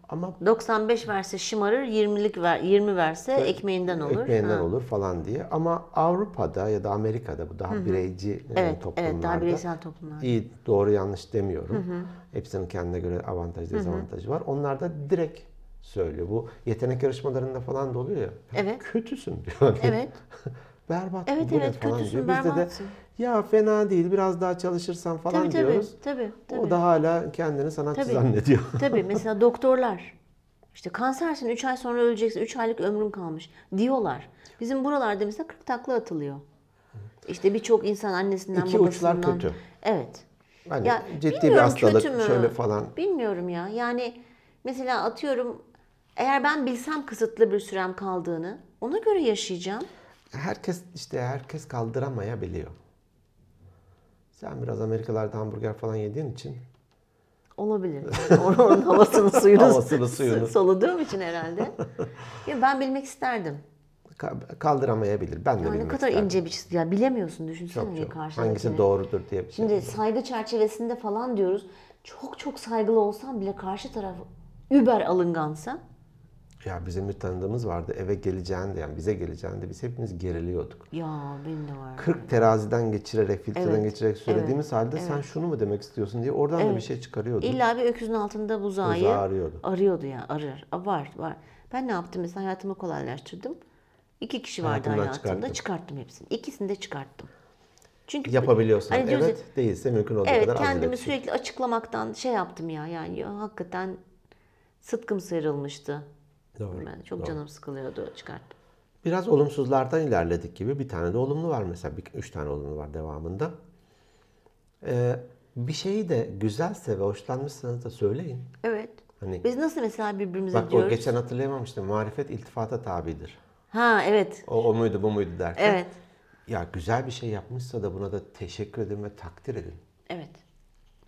Ama
95 verse şımarır, 20'lik ver, 20 verse ekmeğinden olur.
ekmeğinden
Ha.
olur falan diye. Ama Avrupa'da ya da Amerika'da bu daha bireyci e,
Evet,
toplumlarda.
evet daha bireysel toplumlar.
iyi doğru yanlış demiyorum. Hepsinin kendine göre avantaj dezavantajı var. Onlar da direkt söylüyor. Bu yetenek yarışmalarında falan da oluyor ya. "Ya
Evet.
Kötüsün [laughs] diyor.
Evet.
Berbat
Evet,
bu ne
evet,
falan
kötüsün,
diyor. Bizde de
berbatsın.
ya fena değil biraz daha çalışırsan falan
Tabii tabii,
diyoruz.
tabii tabii.
O da hala kendini sanatçı
Tabii.
zannediyor.
Tabii mesela doktorlar işte kansersin 3 ay sonra öleceksin 3 aylık ömrün kalmış diyorlar. Bizim buralarda mesela 40 takla atılıyor. İşte birçok insan annesinden
İki
babasından.
uçlar kötü.
Evet.
[laughs] Hani
Ya
ciddi bir
bilmiyorum
hastalık
kötü mü?
şöyle falan.
Bilmiyorum ya. Yani mesela atıyorum eğer ben bilsem kısıtlı bir sürem kaldığını ona göre yaşayacağım.
Herkes işte herkes kaldıramayabiliyor. Sen biraz Amerikalarda hamburger falan yediğin için
Olabilir. Oranın
[laughs]
havasını suyunu,
Havasını, suyunu.
soluduğum için herhalde. ya ben bilmek isterdim.
ka- kaldıramayabilir. Ben de
Ya ne
bilmek
kadar
isterdim.
ince bir çizgi. Ya bilemiyorsun düşünsene
Çok
ya
çok.
karşındakini.
Hangisi doğrudur diye bir şey.
Şimdi saygı çerçevesinde falan diyoruz. Çok çok saygılı olsan bile karşı taraf über alıngansa
Ya bizim bir tanıdığımız vardı eve geleceğinde yani bize geleceğinde biz hepimiz geriliyorduk.
ya benim de var.
40 teraziden geçirerek, filtreden
Evet,
geçirerek söylediğimiz halde sen şunu mu demek istiyorsun diye oradan da bir şey çıkarıyordun.
İlla bir öküzün altında buzağıyı
Buzağı arıyordu.
arıyordu ya arır. A, Var var. Ben ne yaptım mesela hayatımı kolaylaştırdım. İki kişi vardı
Hayatından
hayatımda
çıkarttın.
çıkarttım hepsini. İkisini de çıkarttım. Çünkü
Yapabiliyorsun.
Hani diyoruz ya,
evet, değilse mümkün olduğu
Evet
kadar az
kendimi
iletişim.
sürekli açıklamaktan şey yaptım ya yani ya, hakikaten sıtkım sıyrılmıştı.
Doğru,
Ben çok
doğru.
canım sıkılıyordu çıkarttım.
Biraz olumsuzlardan ilerledik gibi bir tane de olumlu var mesela. Bir, üç tane olumlu var devamında. Ee, bir şeyi de güzelse ve hoşlanmışsanız da söyleyin.
Evet.
Hani
Biz nasıl mesela birbirimize
bak
diyoruz?
o geçen hatırlayamamıştım. Marifet iltifata tabidir.
Ha evet.
O, o muydu bu muydu derken.
Evet.
Ya güzel bir şey yapmışsa da buna da teşekkür edin ve takdir edin.
Evet.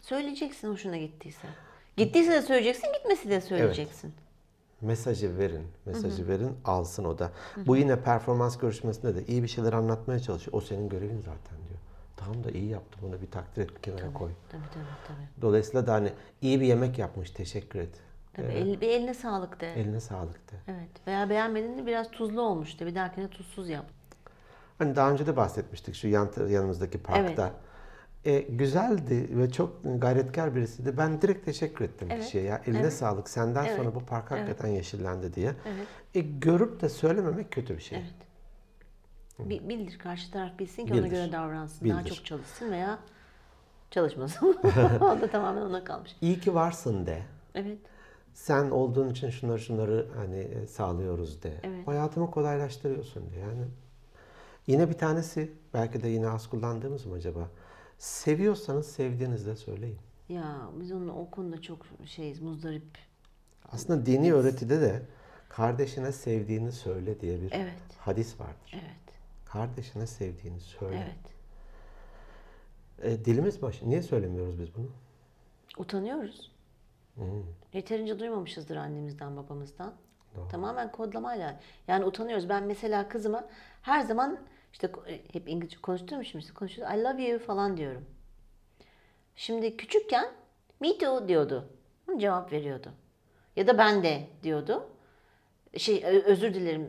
Söyleyeceksin hoşuna gittiyse. Gittiyse de söyleyeceksin, gitmesi de söyleyeceksin.
Mesajı verin. Mesajı verin alsın o da. Bu yine performans görüşmesinde de iyi bir şeyler anlatmaya çalışıyor. O senin görevin zaten diyor. Tamam da iyi yaptı bunu bir takdir et bir kenara koy.
Tabii tabii tabii.
Dolayısıyla da hani iyi bir yemek yapmış teşekkür et.
tabii. El, bir eline sağlık de.
Eline sağlık de.
Evet. Veya beğenmediğinde biraz tuzlu olmuştu. Bir dahakine tuzsuz yap.
Hani daha önce de bahsetmiştik şu yan, yanımızdaki parkta. E, güzeldi ve çok gayretkar birisiydi. Ben direkt teşekkür ettim kişiye ya. Eline sağlık. Senden sonra bu park hakikaten yeşillendi diye. E, görüp de söylememek kötü bir şey.
Bi- Bildir karşı taraf bilsin ki ona
Bildir.
göre davransın. Daha
Bildir.
çok çalışsın veya çalışmasın. [laughs] o da tamamen ona kalmış.
İyi ki varsın de.
Evet.
Sen olduğun için şunları şunları hani e, sağlıyoruz de. Hayatımı kolaylaştırıyorsun de. Yani yine bir tanesi belki de yine az kullandığımız mı acaba? Seviyorsanız sevdiğinizde söyleyin.
Ya biz onun o konuda çok şeyiz, muzdarip.
Aslında dini öğretide de kardeşine sevdiğini söyle diye bir
Evet.
hadis vardır.
Evet.
Kardeşine sevdiğini söyle.
Evet.
E, dilimiz baş. Niye söylemiyoruz biz bunu?
Utanıyoruz. Yeterince duymamışızdır annemizden, babamızdan. Tamamen kodlamayla. Yani utanıyoruz. Ben mesela kızıma her zaman işte ko- e, hep İngilizce konuştuğum için işte konuşuyoruz. I love you falan diyorum. Şimdi küçükken me too diyordu. Hı, Cevap veriyordu. Ya da ben de diyordu. Şey ö- özür dilerim.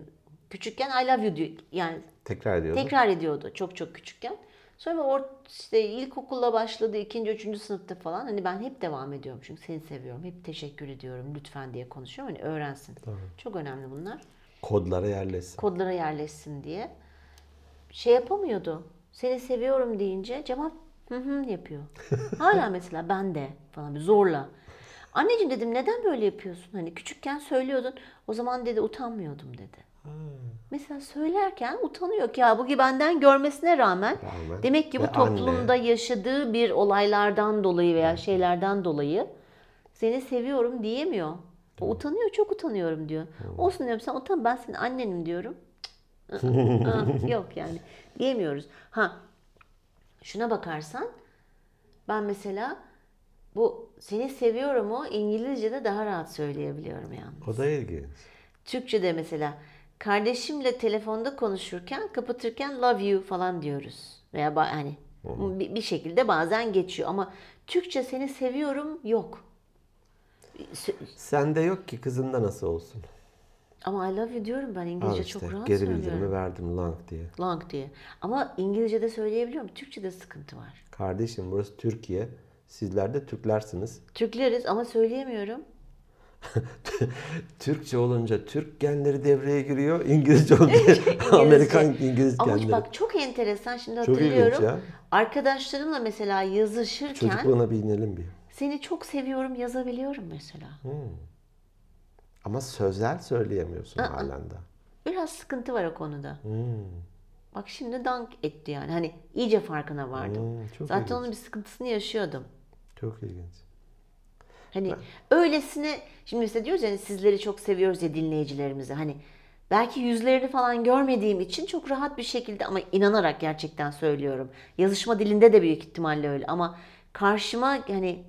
Küçükken I love you diyor. Yani
Tekrar ediyoruz.
Tekrar ediyordu çok çok küçükken. Sonra or işte ilkokulla başladı, ikinci, üçüncü sınıfta falan. Hani ben hep devam ediyorum çünkü seni seviyorum. Hep teşekkür ediyorum lütfen diye konuşuyorum. Hani öğrensin. Çok önemli bunlar.
Kodlara yerleşsin.
Kodlara yerleşsin diye. Şey yapamıyordu. Seni seviyorum deyince cevap hı hı yapıyor. Hala mesela ben de falan bir zorla. Anneciğim dedim neden böyle yapıyorsun? Hani küçükken söylüyordun. O zaman dedi utanmıyordum dedi. Mesela söylerken utanıyor ki ya bu ki benden görmesine rağmen,
Rağmen.
demek ki bu
Ve
toplumda yaşadığı bir olaylardan dolayı veya şeylerden dolayı seni seviyorum diyemiyor. O utanıyor çok utanıyorum diyor. Olsun diyorum sen utan ben senin
[laughs]
annenim diyorum. Cık, ı, ı, ı, Yok yani diyemiyoruz. Ha şuna bakarsan ben mesela bu seni seviyorum o İngilizce'de daha rahat söyleyebiliyorum yani.
O da ilginç.
Türkçe'de mesela kardeşimle telefonda konuşurken kapatırken love you falan diyoruz. Veya ba- hani bi- bir şekilde bazen geçiyor ama Türkçe seni seviyorum yok. Sö-
Sende yok ki kızında nasıl olsun.
Ama I love you diyorum ben
Al
İngilizce
işte
çok rahat
geri bildirimi
söylüyorum.
verdim lang diye.
Long diye. Ama İngilizce'de söyleyebiliyorum. Türkçe'de sıkıntı var.
Kardeşim burası Türkiye. Sizler de Türklersiniz. [laughs]
Türkleriz ama söyleyemiyorum.
Türkçe olunca Türk genleri devreye giriyor. İngilizce
[laughs]
olunca Amerikan İngiliz
Ama
genleri.
bak çok enteresan şimdi
Çok ilginç
hatırlıyorum.
ya.
Arkadaşlarımla mesela yazışırken
Çocukluğuna bir inelim bir.
seni çok seviyorum yazabiliyorum mesela.
Ama sözel söyleyemiyorsun halen daha.
Biraz sıkıntı var o konuda.
Hmm,
Bak şimdi dank etti yani. Hani iyice farkına vardım.
Hmm, çok
Zaten
ilginç.
onun bir sıkıntısını yaşıyordum.
Çok ilginç.
Hani öylesine şimdi mesela diyoruz yani sizleri çok seviyoruz ya dinleyicilerimizi. Hani belki yüzlerini falan görmediğim için çok rahat bir şekilde ama inanarak gerçekten söylüyorum. Yazışma dilinde de büyük ihtimalle öyle ama karşıma hani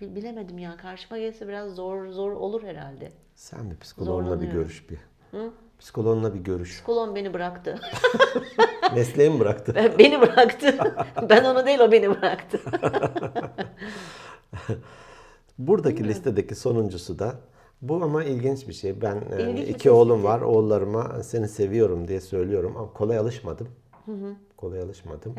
bi- bilemedim ya karşıma gelse biraz zor zor olur herhalde.
Sen bir psikoloğunla bir
Zorlanıyorum.
görüş bir. Psikoloğunla bir görüş. [laughs]
Kolon beni bıraktı. [laughs]
Mesleği mi bıraktı?
beni bıraktı. [laughs] ben onu değil o beni bıraktı.
Buradaki listedeki sonuncusu da bu ama ilginç bir şey. Ben e,
İlginç bir
iki
tespit.
oğlum var. Oğullarıma seni seviyorum diye söylüyorum ama kolay alışmadım. Kolay alışmadım.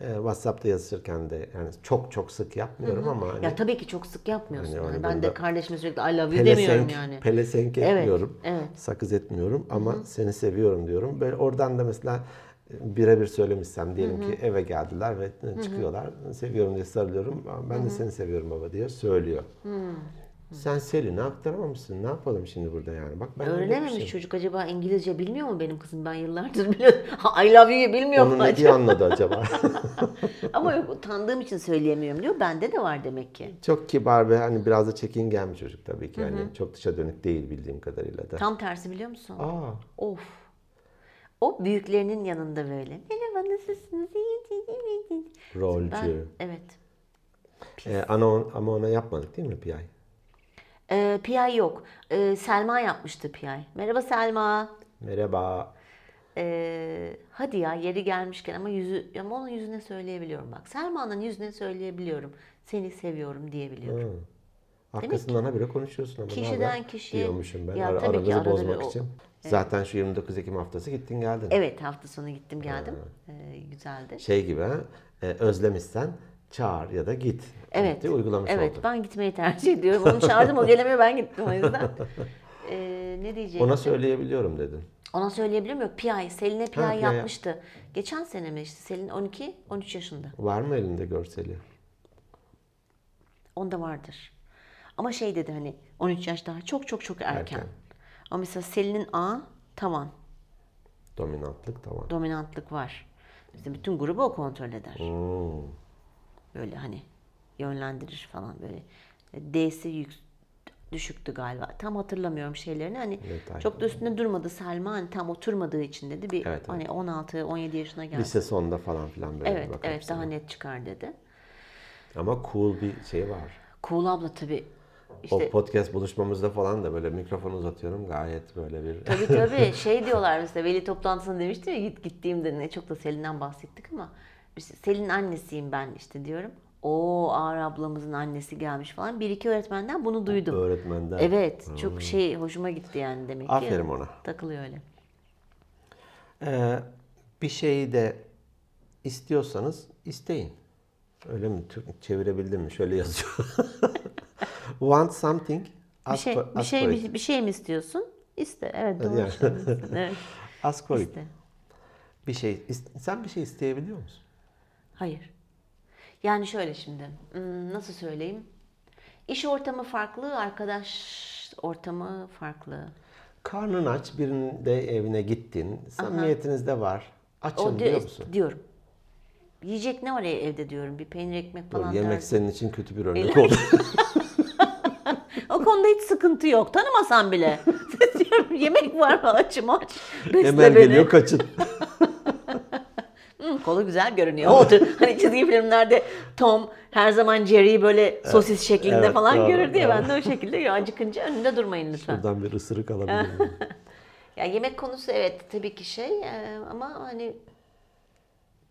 E, WhatsApp'ta yazışırken de yani çok çok sık yapmıyorum ama hani
Ya tabii ki çok sık yapmıyorsun.
Yani
Yani
onu
ben
bunda
de kardeşime sürekli I love you demiyorum
pelesenk,
yani.
pelesenk
Evet,
etmiyorum.
evet.
Sakız etmiyorum ama seni seviyorum diyorum. Böyle oradan da mesela e, birebir söylemişsem diyelim ki eve geldiler ve e, çıkıyorlar. Seviyorum diye sarılıyorum. Ben de seni seviyorum baba diye söylüyor. Sen Selin'e aktaramamışsın. Ne yapalım şimdi burada yani? Bak ben
Öğrenememiş
öğretmişim.
çocuk acaba İngilizce bilmiyor mu benim kızım? Ben yıllardır [laughs] biliyorum. I love you'yu bilmiyor
Onu
mu
ne
acaba?
diye anladı
[laughs]
acaba? [laughs]
Ama yok utandığım için söyleyemiyorum diyor. Bende de var demek ki.
çok kibar ve hani biraz da çekingen bir çocuk tabii ki. Yani çok dışa dönük değil bildiğim kadarıyla da.
Tam tersi biliyor musun?
Aa,
Of. O büyüklerinin yanında böyle. Merhaba nasılsınız? İyi, iyi, iyi, iyi.
rolcü.
Ben, evet.
Ee, ana, ama ona yapmadık değil mi PI?
Ee, PI yok. Ee, Selma yapmıştı PI. Merhaba Selma.
Merhaba.
Ee, hadi ya yeri gelmişken ama yüzü ama onun yüzüne söyleyebiliyorum bak. Selma'nın yüzüne söyleyebiliyorum. Seni seviyorum diyebiliyorum.
Arkasından habire konuşuyorsun ama ne
Kişiden
haber?
kişiye-
diyormuşum ben
Ya
ara,
tabii
aranızı
ki arada bir
bozmak
o-
için. Zaten şu 29 Ekim haftası gittin geldin.
Evet hafta sonu gittim geldim. Ee, güzeldi.
Şey gibi ha, e, özlemişsen çağır ya da git.
Evet.
Diye uygulamış
evet
oldun.
ben gitmeyi tercih ediyorum. Onu çağırdım o gelemiyor ben gittim
[laughs]
o yüzden. Ee, ne diyeceğim?
Ona
Ona,
söyleyebiliyorum dedin.
söyleyebilir miyim? Yok PI. Selin'e PI
PI.
yapmıştı. Geçen sene mi işte Selin 12 13 yaşında.
Var mı elinde görseli?
Onda vardır. Ama şey dedi hani 13 yaş daha çok çok çok erken.
Erken.
Ama mesela Selin'in A tavan.
Dominantlık tamam.
dominantlık var. Mesela bütün grubu o kontrol eder.
Hmm.
Böyle hani yönlendirir falan böyle. E, D'si yük, düşüktü galiba. Tam hatırlamıyorum şeylerini. Hani
Detay.
çok da üstünde durmadı Selma. Hani tam oturmadığı için dedi.
Evet,
Bir
evet.
hani 16 17 yaşına geldi.
Lise sonunda falan filan böyle
evet,
bir bakar
evet
mısın?
daha net çıkar dedi.
Ama cool bir şey var.
Kuğul abla tabii
O
işte
podcast buluşmamızda falan da böyle mikrofonu uzatıyorum gayet böyle bir
Tabii tabii şey diyorlar mesela veli toplantısına demiştim ya git gittiğimde ne çok da Selin'den bahsettik ama işte Selin annesiyim ben işte diyorum. O Ağar ablamızın annesi gelmiş falan. Bir iki öğretmenden bunu duydum.
öğretmenden.
Evet çok şey hoşuma gitti yani demek ki.
Hmm. Aferin ona.
Takılıyor öyle.
Ee, bir şeyi de istiyorsanız isteyin. Öyle mi? Türk, çevirebildim mi? Şöyle yazıyor. [laughs] Want something,
Bir
ask
şey,
for,
bir
ask
şey,
for
bir,
it.
bir şey mi istiyorsun? İste. Evet doğru.
Yani. [laughs]
söylüyorsun. evet,
Ask for it.
iste.
Bir şey, is- sen bir şey isteyebiliyor musun?
Hayır. Yani şöyle şimdi hmm, nasıl söyleyeyim? İş ortamı farklı, arkadaş ortamı farklı.
Karnın aç, birinin de evine gittin. Samimiyetinizde var. Açım
O
diyor
diyor,
musun?
diyorum. Yiyecek ne var e- evde diyorum. Bir peynir ekmek
Doğru,
falan
yemek
dersin.
senin için kötü bir örnek oldu. [laughs]
O konuda hiç sıkıntı yok. Tanımasan bile.
[laughs]
[laughs] diyorum yemek var mı açım aç. Besle
Hemen
beni.
geliyor
[laughs]
kaçın.
Hı, Kolu
[laughs]
güzel görünüyor. Otur. hani çizgi filmlerde Tom her zaman Jerry'i böyle sosis şeklinde
evet,
falan
doğru,
görür diye
doğru.
ben de o şekilde görüyorum. acıkınca önünde durmayın lütfen.
Buradan bir ısırık
Ah.
alabilir miyim?
Ya yemek konusu evet tabii ki şey e, ama hani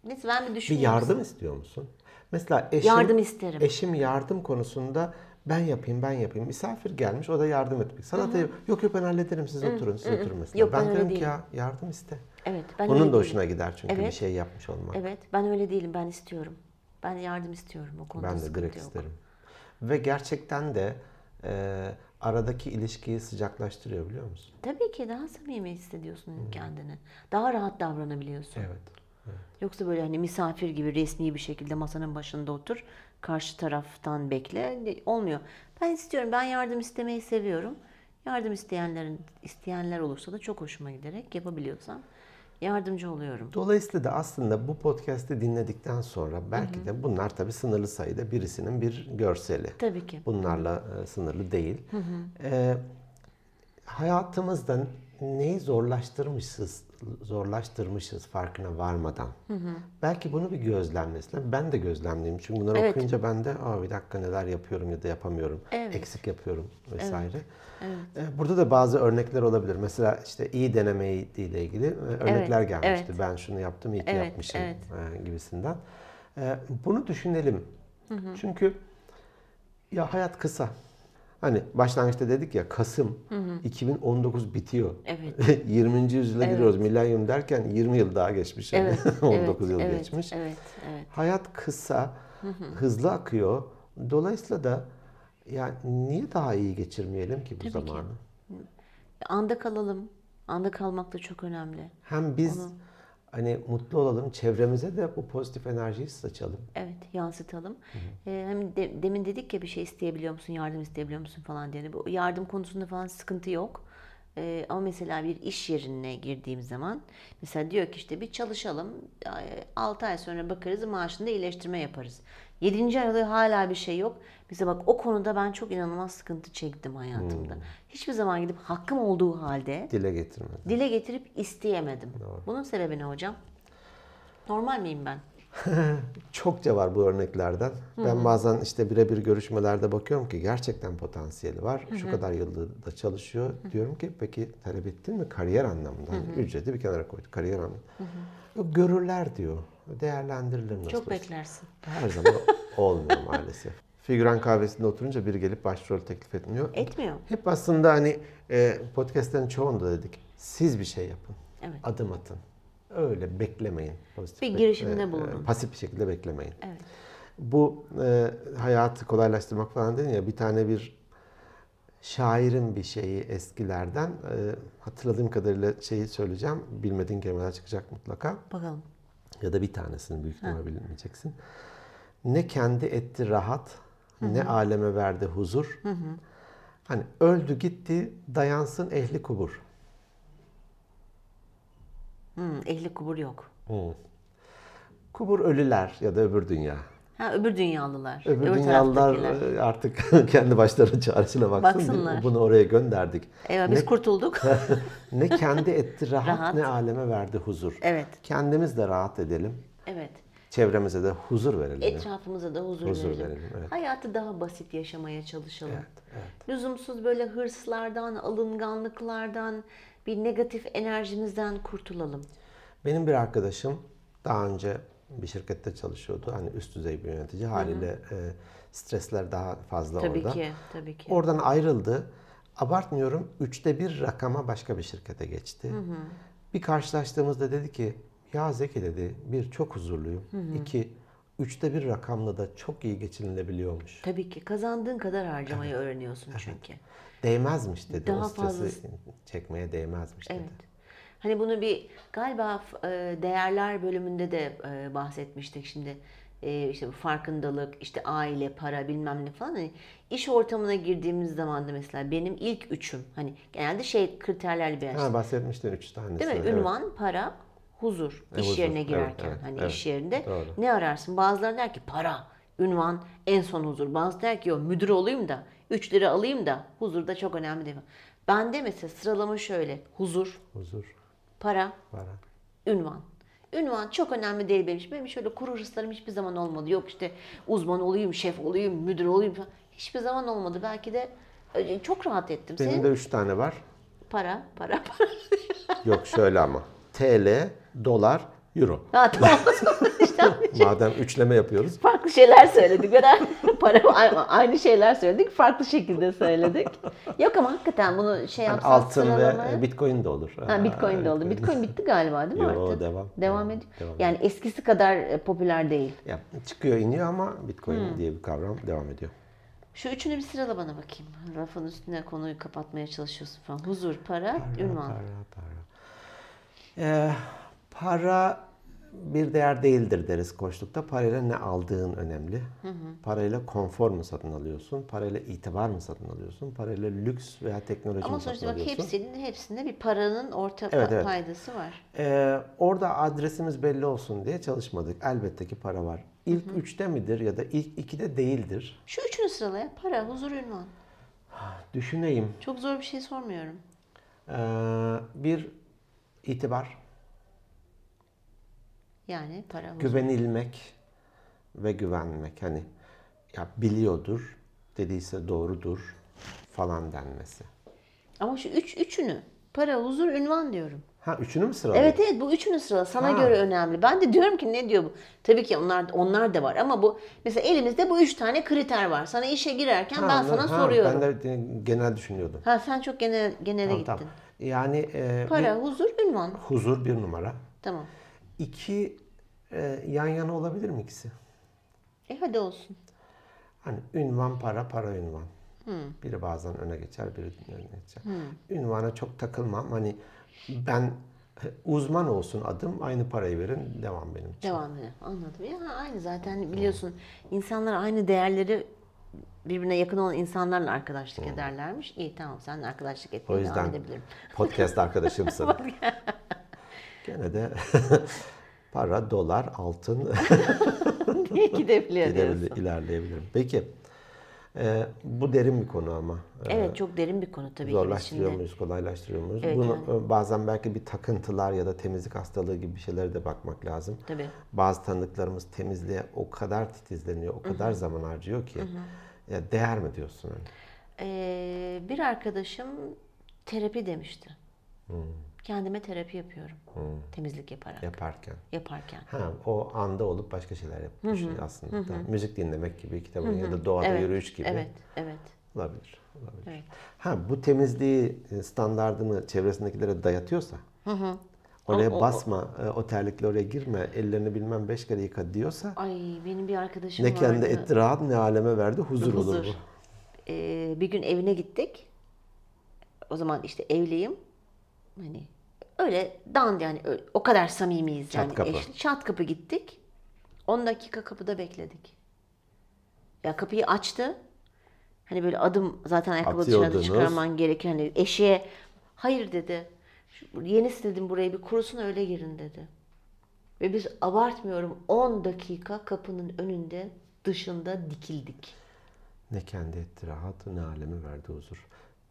neyse ben bir
Bir
düşünüyorum.
yardım istiyor musun? Mesela eşim,
Yardım isterim.
eşim yardım konusunda ben yapayım ben yapayım. Misafir gelmiş o da yardım etmek. Sana da yok yok ben hallederim siz oturun siz oturun mesela.
Yok, ben
ben,
öyle
diyorum ki
değilim.
ya yardım iste.
Evet ben öyle
Onun da
değilim.
hoşuna gider çünkü bir
Evet.
şey yapmış olmak.
Evet ben öyle değilim ben istiyorum. Ben yardım istiyorum o konuda
Ben de
sıkıntı
direkt
yok.
isterim. Ve gerçekten de e, aradaki ilişkiyi sıcaklaştırıyor biliyor musun?
Tabii ki daha samimi hissediyorsun kendini. Daha rahat davranabiliyorsun.
Hmm. Evet.
Yoksa böyle hani misafir gibi resmi bir şekilde masanın başında otur. Karşı taraftan bekle. Ne- Olmuyor. Ben istiyorum. Ben yardım istemeyi seviyorum. Yardım isteyenlerin isteyenler olursa da çok hoşuma giderek yapabiliyorsam yardımcı oluyorum.
Dolayısıyla da aslında bu podcast'i dinledikten sonra belki de bunlar tabii sınırlı sayıda birisinin bir görseli.
Tabii ki.
Bunlarla e, sınırlı değil. E, hayatımızda neyi zorlaştırmışız, zorlaştırmışız farkına varmadan. Belki bunu bir gözlemlesin. Ben de gözlemleyeyim. Çünkü bunları
Evet.
okuyunca ben de Aa, bir dakika neler yapıyorum ya da yapamıyorum.
Evet.
Eksik yapıyorum vesaire. E, Burada da bazı örnekler olabilir. Mesela işte iyi denemeyi ile ilgili e, örnekler
Evet,
gelmişti.
evet.
Ben şunu yaptım, iyi ki
Evet,
yapmışım
evet.
e, gibisinden. E, Bunu düşünelim. Çünkü ya hayat kısa. Hani başlangıçta dedik ya Kasım 2019 bitiyor. [laughs]
Evet.
20. yüzyıla giriyoruz. Milenyum derken 20 yıl daha geçmiş. yani. [laughs]
Evet.
19
evet,
yıl
evet,
geçmiş.
Evet, evet.
Hayat kısa, hızlı akıyor. Dolayısıyla da yani niye daha iyi geçirmeyelim ki bu zamanı?
Anda kalalım. Anda kalmak da çok önemli.
Hem biz hani mutlu olalım, çevremize de bu pozitif enerjiyi saçalım.
Evet, yansıtalım. Ee, hem de- demin dedik ya bir şey isteyebiliyor musun, yardım isteyebiliyor musun falan diye. Yani Bu yardım konusunda falan sıkıntı yok. Ee, ama mesela bir iş yerine girdiğim zaman mesela diyor ki işte bir çalışalım. 6 ay sonra bakarız maaşında iyileştirme yaparız. 7. ayda hala bir şey yok. Mesela bak o konuda ben çok inanılmaz sıkıntı çektim hayatımda. Hiçbir zaman gidip hakkım olduğu halde
Dile getirmeden.
dile getirip isteyemedim. Bunun sebebi ne hocam? Normal miyim ben?
Çokça var bu örneklerden. Ben bazen işte birebir görüşmelerde bakıyorum ki gerçekten potansiyeli var. Şu kadar yılda da çalışıyor. Diyorum ki peki talep ettin mi kariyer anlamında? Hani ücreti bir kenara koyduk kariyer anlamında. Yok, Görürler diyor. Değerlendirilir nasıl
Çok
olsa.
beklersin.
Her zaman olmuyor maalesef. Figüran kahvesinde oturunca biri gelip başrol teklif etmiyor.
Etmiyor.
Hep aslında hani e, podcastlerin çoğunda dedik. Siz bir şey yapın.
Evet.
Adım atın. Öyle beklemeyin. Pozitif
Bir
bek-
girişimde
e, e,
bulunun.
pasif bir şekilde beklemeyin.
Evet.
Bu e, hayatı kolaylaştırmak falan dedin ya bir tane bir şairin bir şeyi eskilerden e, hatırladığım kadarıyla şeyi söyleyeceğim. Bilmediğin kelimeler çıkacak mutlaka.
Bakalım.
Ya da bir tanesini büyük ihtimal bilmeyeceksin. Ne kendi etti rahat, ne aleme verdi huzur. Hani öldü gitti, dayansın ehli kubur.
Hmm, ehli kubur yok.
Kubur ölüler ya da öbür dünya.
Ha öbür dünyalılar.
Öbür
öbür
dünyalılar
taraftakiler.
e, artık [laughs] kendi başlarına çaresine baksın.
Baksınlar.
Bunu oraya gönderdik.
Eyvah biz
ne,
kurtulduk.
[laughs] ne kendi etti rahat,
Rahat.
ne aleme verdi huzur.
Evet.
Kendimiz de rahat edelim.
evet.
Çevremize de huzur
E,
verelim.
Etrafımıza da huzur,
Huzur
verelim.
verelim, evet.
Hayatı daha basit yaşamaya çalışalım. Lüzumsuz böyle hırslardan, alınganlıklardan, bir negatif enerjimizden kurtulalım.
Benim bir arkadaşım daha önce bir şirkette çalışıyordu. Hani üst düzey bir yönetici haliyle e, stresler daha fazla
Tabii
orada.
ki, tabii ki.
Oradan ayrıldı. Abartmıyorum üçte bir rakama başka bir şirkete geçti. Bir karşılaştığımızda dedi ki ya Zeki dedi bir çok huzurluyum. İki üçte bir rakamla da çok iyi geçinilebiliyormuş.
Tabii ki kazandığın kadar harcamayı öğreniyorsun çünkü.
Değmezmiş dedi.
Daha
o stresi
fazlası-
çekmeye değmezmiş dedi.
Evet. Hani bunu bir galiba f- e, değerler bölümünde de e, bahsetmiştik şimdi. e, işte bu farkındalık, işte aile, para bilmem ne falan. Hani iş ortamına girdiğimiz zaman da mesela benim ilk üçüm hani genelde şey kriterlerle bir
Ha, bahsetmiştin üç tanesi.
Değil mi?
Evet.
Ünvan, para, huzur.
E,
iş
huzur.
yerine
Evet,
girerken
evet,
hani
evet.
iş yerinde
Doğru.
ne ararsın? Bazıları der ki para, ünvan, en son huzur. Bazıları der ki yo müdür olayım da 3 lira alayım da huzur da çok önemli değil. Ben de mesela sıralama şöyle. Huzur,
Huzur,
para,
para.
ünvan. Ünvan çok önemli değil benim için. Benim şöyle kuru hırslarım hiçbir zaman olmadı. Yok işte uzman olayım, şef olayım, müdür olayım falan. Hiçbir zaman olmadı. Belki de e, çok rahat ettim.
Benim
Senin
de üç tane var.
para, para, para. [laughs]
Yok şöyle ama. TL, dolar, euro.
Ha, tamam. [laughs] İşte
Madem üçleme yapıyoruz.
farklı şeyler söyledik. Böyle para a- aynı şeyler söyledik. Farklı şekilde söyledik. Yok ama hakikaten bunu şey
Yani
yapsak
Hani altın
sıralamaya-
ve bitcoin de olur.
Ha, Bitcoin de oldu. Bitcoin bitti galiba değil mi
Yo,
artık?
devam.
Devam
Devam,
ediyor.
devam.
Yani eskisi kadar e, popüler değil.
Ya, çıkıyor iniyor ama
Hmm.
bitcoin diye bir kavram devam ediyor.
Şu üçünü bir sırala bana bakayım. Rafın üstüne konuyu kapatmaya çalışıyorsun falan. Huzur, para, ünvan.
Para, para. Ee, para bir değer değildir deriz koçlukta. Parayla ne aldığın önemli. Parayla konfor mu satın alıyorsun? Parayla itibar mı satın alıyorsun? Parayla lüks veya teknoloji
Ama
mi satın
sonuçta bak
alıyorsun?
hepsinin hepsinde bir paranın orta
Evet,
pa-
evet.
paydası var.
Ee, orada adresimiz belli olsun diye çalışmadık. Elbette ki para var. İlk üçte midir ya da ilk ikide değildir?
Şu üçünü sırala ya. Para, huzur, ünvan.
Düşüneyim.
Çok zor bir şey sormuyorum.
Ee, bir itibar,
Yani para, huzur.
güvenilmek ve güvenmek. Hani ya biliyordur, dediyse doğrudur falan denmesi.
Ama şu üç, üçünü. Para, huzur, ünvan diyorum.
Ha üçünü mü sıraladık?
Evet evet bu üçünü sırala. Sana
Ha.
göre önemli. Ben de diyorum ki ne diyor bu? Tabii ki onlar onlar da var ama bu mesela elimizde bu üç tane kriter var. Sana işe girerken
Ha,
ben
anladım.
sana
Ha,
soruyorum.
Ben de e, genel düşünüyordum.
Ha sen çok genel genele
Tamam,
gittin.
tamam. Yani e, bir
Para, huzur, ünvan.
huzur bir numara.
Tamam.
İki e, yan yana olabilir mi ikisi?
E hadi olsun.
Hani ünvan para, para ünvan. Biri bazen öne geçer, biri öne geçer. Ünvana çok takılmam. Hani ben uzman olsun adım, aynı parayı verin, devam benim için.
Devam edelim. Anladım. Ya aynı zaten biliyorsun insanlar aynı değerleri birbirine yakın olan insanlarla arkadaşlık ederlermiş. İyi tamam sen arkadaşlık
O
etmeye devam
yüzden [laughs]
edebilirim. [laughs]
podcast arkadaşımsın. Gene de [laughs] para, dolar,
[laughs]
altın
Gidebiliyor diyorsun.
gidebilir, ilerleyebilirim. Peki, e, bu derin bir konu ama. E,
Evet çok derin bir konu tabii ki biz
Zorlaştırıyor
şimdi.
muyuz, kolaylaştırıyor muyuz? Bunu e, bazen belki bir takıntılar ya da temizlik hastalığı gibi bir şeylere de bakmak lazım.
Tabii.
Bazı tanıdıklarımız temizliğe o kadar titizleniyor, o kadar zaman harcıyor ki. Ya değer mi diyorsun? hani?
Ee, bir arkadaşım terapi demişti.
Hmm.
Kendime terapi yapıyorum. Temizlik yaparak,
Yaparken.
yaparken.
Ha, o anda olup başka şeyler yap- düşünüyor aslında. Tamam. Müzik dinlemek gibi, kitap okumak ya da doğada
Evet,
yürüyüş gibi.
Evet, evet.
Olabilir. olabilir.
Evet.
Ha bu temizliği e, standardını çevresindekilere dayatıyorsa. Oraya
O- o-
basma, e, o terlikle oraya girme, ellerini bilmem beş kere yıka diyorsa
Ay benim bir arkadaşım
ne kendi
vardı.
etti rahat ne aleme verdi huzur, olur bu.
Ee, bir gün evine gittik. O zaman işte evliyim. Hani öyle dan yani öyle- o kadar samimiyiz
Çat
yani.
kapı.
çat kapı gittik. 10 dakika kapıda bekledik. Ya kapıyı açtı. Hani böyle adım zaten ayakkabı dışarıda
Atıyordunuz.
çıkarman gerekiyor. Hani eşeğe hayır dedi. "Şu- Yeni sildim burayı bir kurusun öyle girin dedi. Ve biz abartmıyorum 10 dakika kapının önünde dışında dikildik.
Ne kendi etti rahat ne aleme verdi huzur.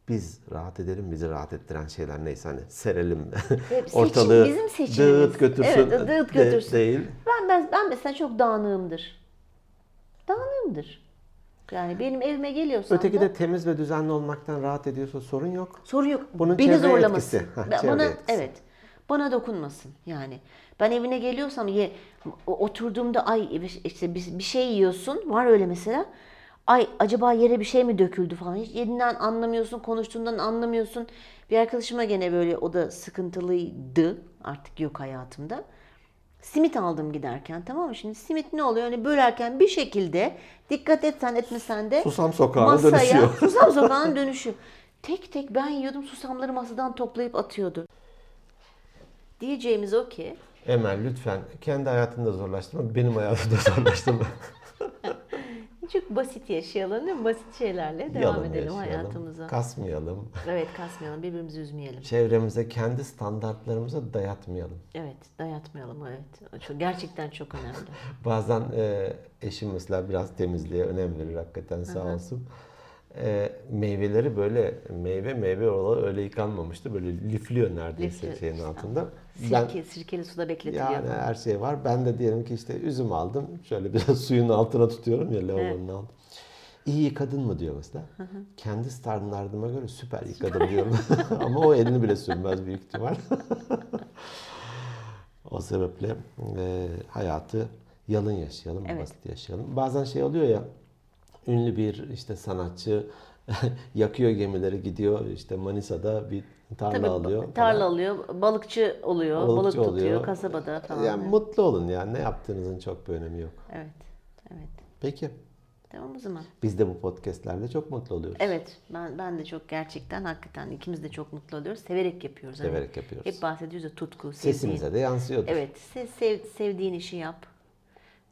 Biz rahat edelim, bizi rahat ettiren şeyler neyse hani serelim.
seçim,
Ortalığı
bizim seçimimiz.
dağıt götürsün.
Evet, dağıt
de-
götürsün.
değil.
Ben, ben, ben mesela çok dağınığımdır. Dağınığımdır. Yani benim evime geliyorsan
Öteki
da
de temiz ve düzenli olmaktan rahat ediyorsa sorun yok.
sorun yok.
bunun
Beni
çevre
zorlamasın.
etkisi. Ha,
Ben-
çevre
bana
etkisi.
evet. Bana dokunmasın yani. Ben evine geliyorsam ye, o- oturduğumda ay işte bir, bir şey yiyorsun. Var öyle mesela. Ay acaba yere bir şey mi döküldü falan. Hiç yedinden anlamıyorsun, konuştuğundan anlamıyorsun. Bir arkadaşıma gene böyle o da sıkıntılıydı. Artık yok hayatımda. Simit aldım giderken tamam mı? Şimdi simit ne oluyor? Hani bölerken bir şekilde dikkat etsen etmesen de
Susam sokağına dönüşüyor.
[laughs]
[laughs]
susam sokağına dönüşüyor. Tek tek ben yiyordum susamları masadan toplayıp atıyordu. Diyeceğimiz o ki
Emel lütfen kendi hayatında zorlaştırma, benim hayatımda [laughs] zorlaştırma.
Çok basit yaşayalım değil mi? Basit şeylerle devam
Yalın
edelim
yaşayalım,
hayatımıza.
Kasmayalım.
evet kasmayalım, birbirimizi üzmeyelim.
Çevremize kendi standartlarımıza dayatmayalım.
Evet, dayatmayalım evet. O Çok, gerçekten çok önemli.
Bazen e, eşim mesela biraz temizliğe önem verir hakikaten sağ olsun. E, meyveleri böyle meyve meyve olalı öyle yıkanmamıştı. Böyle lifliyor neredeyse
Lifliyor,
şeyin
işte.
altında. Ben
Sirke, sirkeli suda bekletiliyor.
yani her şey var. Ben de diyelim ki işte üzüm aldım. Şöyle biraz [laughs] suyun altına tutuyorum ya lavabonun altına. İyi yıkadın mı diyor mesela. Kendi standartıma göre süper yıkadım diyorum. [laughs] Ama o elini bile sürmez büyük ihtimal. [laughs] O sebeple e, hayatı yalın yaşayalım, basit yaşayalım. Bazen şey oluyor ya, ünlü bir işte sanatçı [laughs] yakıyor gemileri gidiyor işte Manisa'da bir tarla
Tabii
alıyor.
ba-
falan.
tarla alıyor, balıkçı oluyor,
Balıkçı
balık tutuyor
oluyor.
kasabada falan.
Yani mutlu olun yani ne yaptığınızın çok bir önemi yok.
Evet, evet.
Peki
Tamam o zaman.
biz de bu podcastlerle çok mutlu oluyoruz.
Evet, ben ben de çok gerçekten hakikaten ikimiz de çok mutlu oluyoruz. Severek yapıyoruz. Hani
Severek yapıyoruz.
Hep bahsediyoruz ya tutku, sevdiğin.
Sesimize de yansıyordur.
Evet, se- sev- sevdiğin işi yap.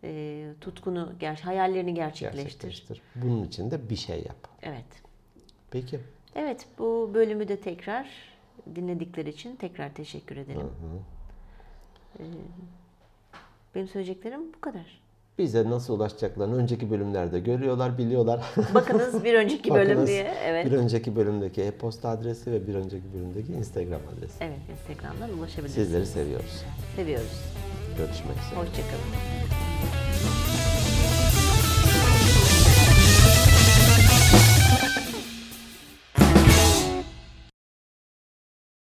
Ee, tutkunu, ger- hayallerini gerçekleştir.
Gerçekleştir. Bunun için de bir şey yap.
Evet.
Peki.
Evet, bu bölümü de tekrar dinledikleri için tekrar teşekkür ederim. Ee, benim söyleyeceklerim
[laughs]
bu kadar.
Bize nasıl ulaşacaklarını önceki bölümlerde görüyorlar, biliyorlar.
Bakınız bir [laughs] önceki bölüm
Bakınız,
diye. Evet.
Bir önceki bölümdeki e-posta adresi ve bir önceki bölümdeki Instagram adresi.
Evet, Instagram'dan ulaşabilirsiniz.
Sizleri seviyoruz.
Seviyoruz.
Görüşmek üzere.
Hoşçakalın.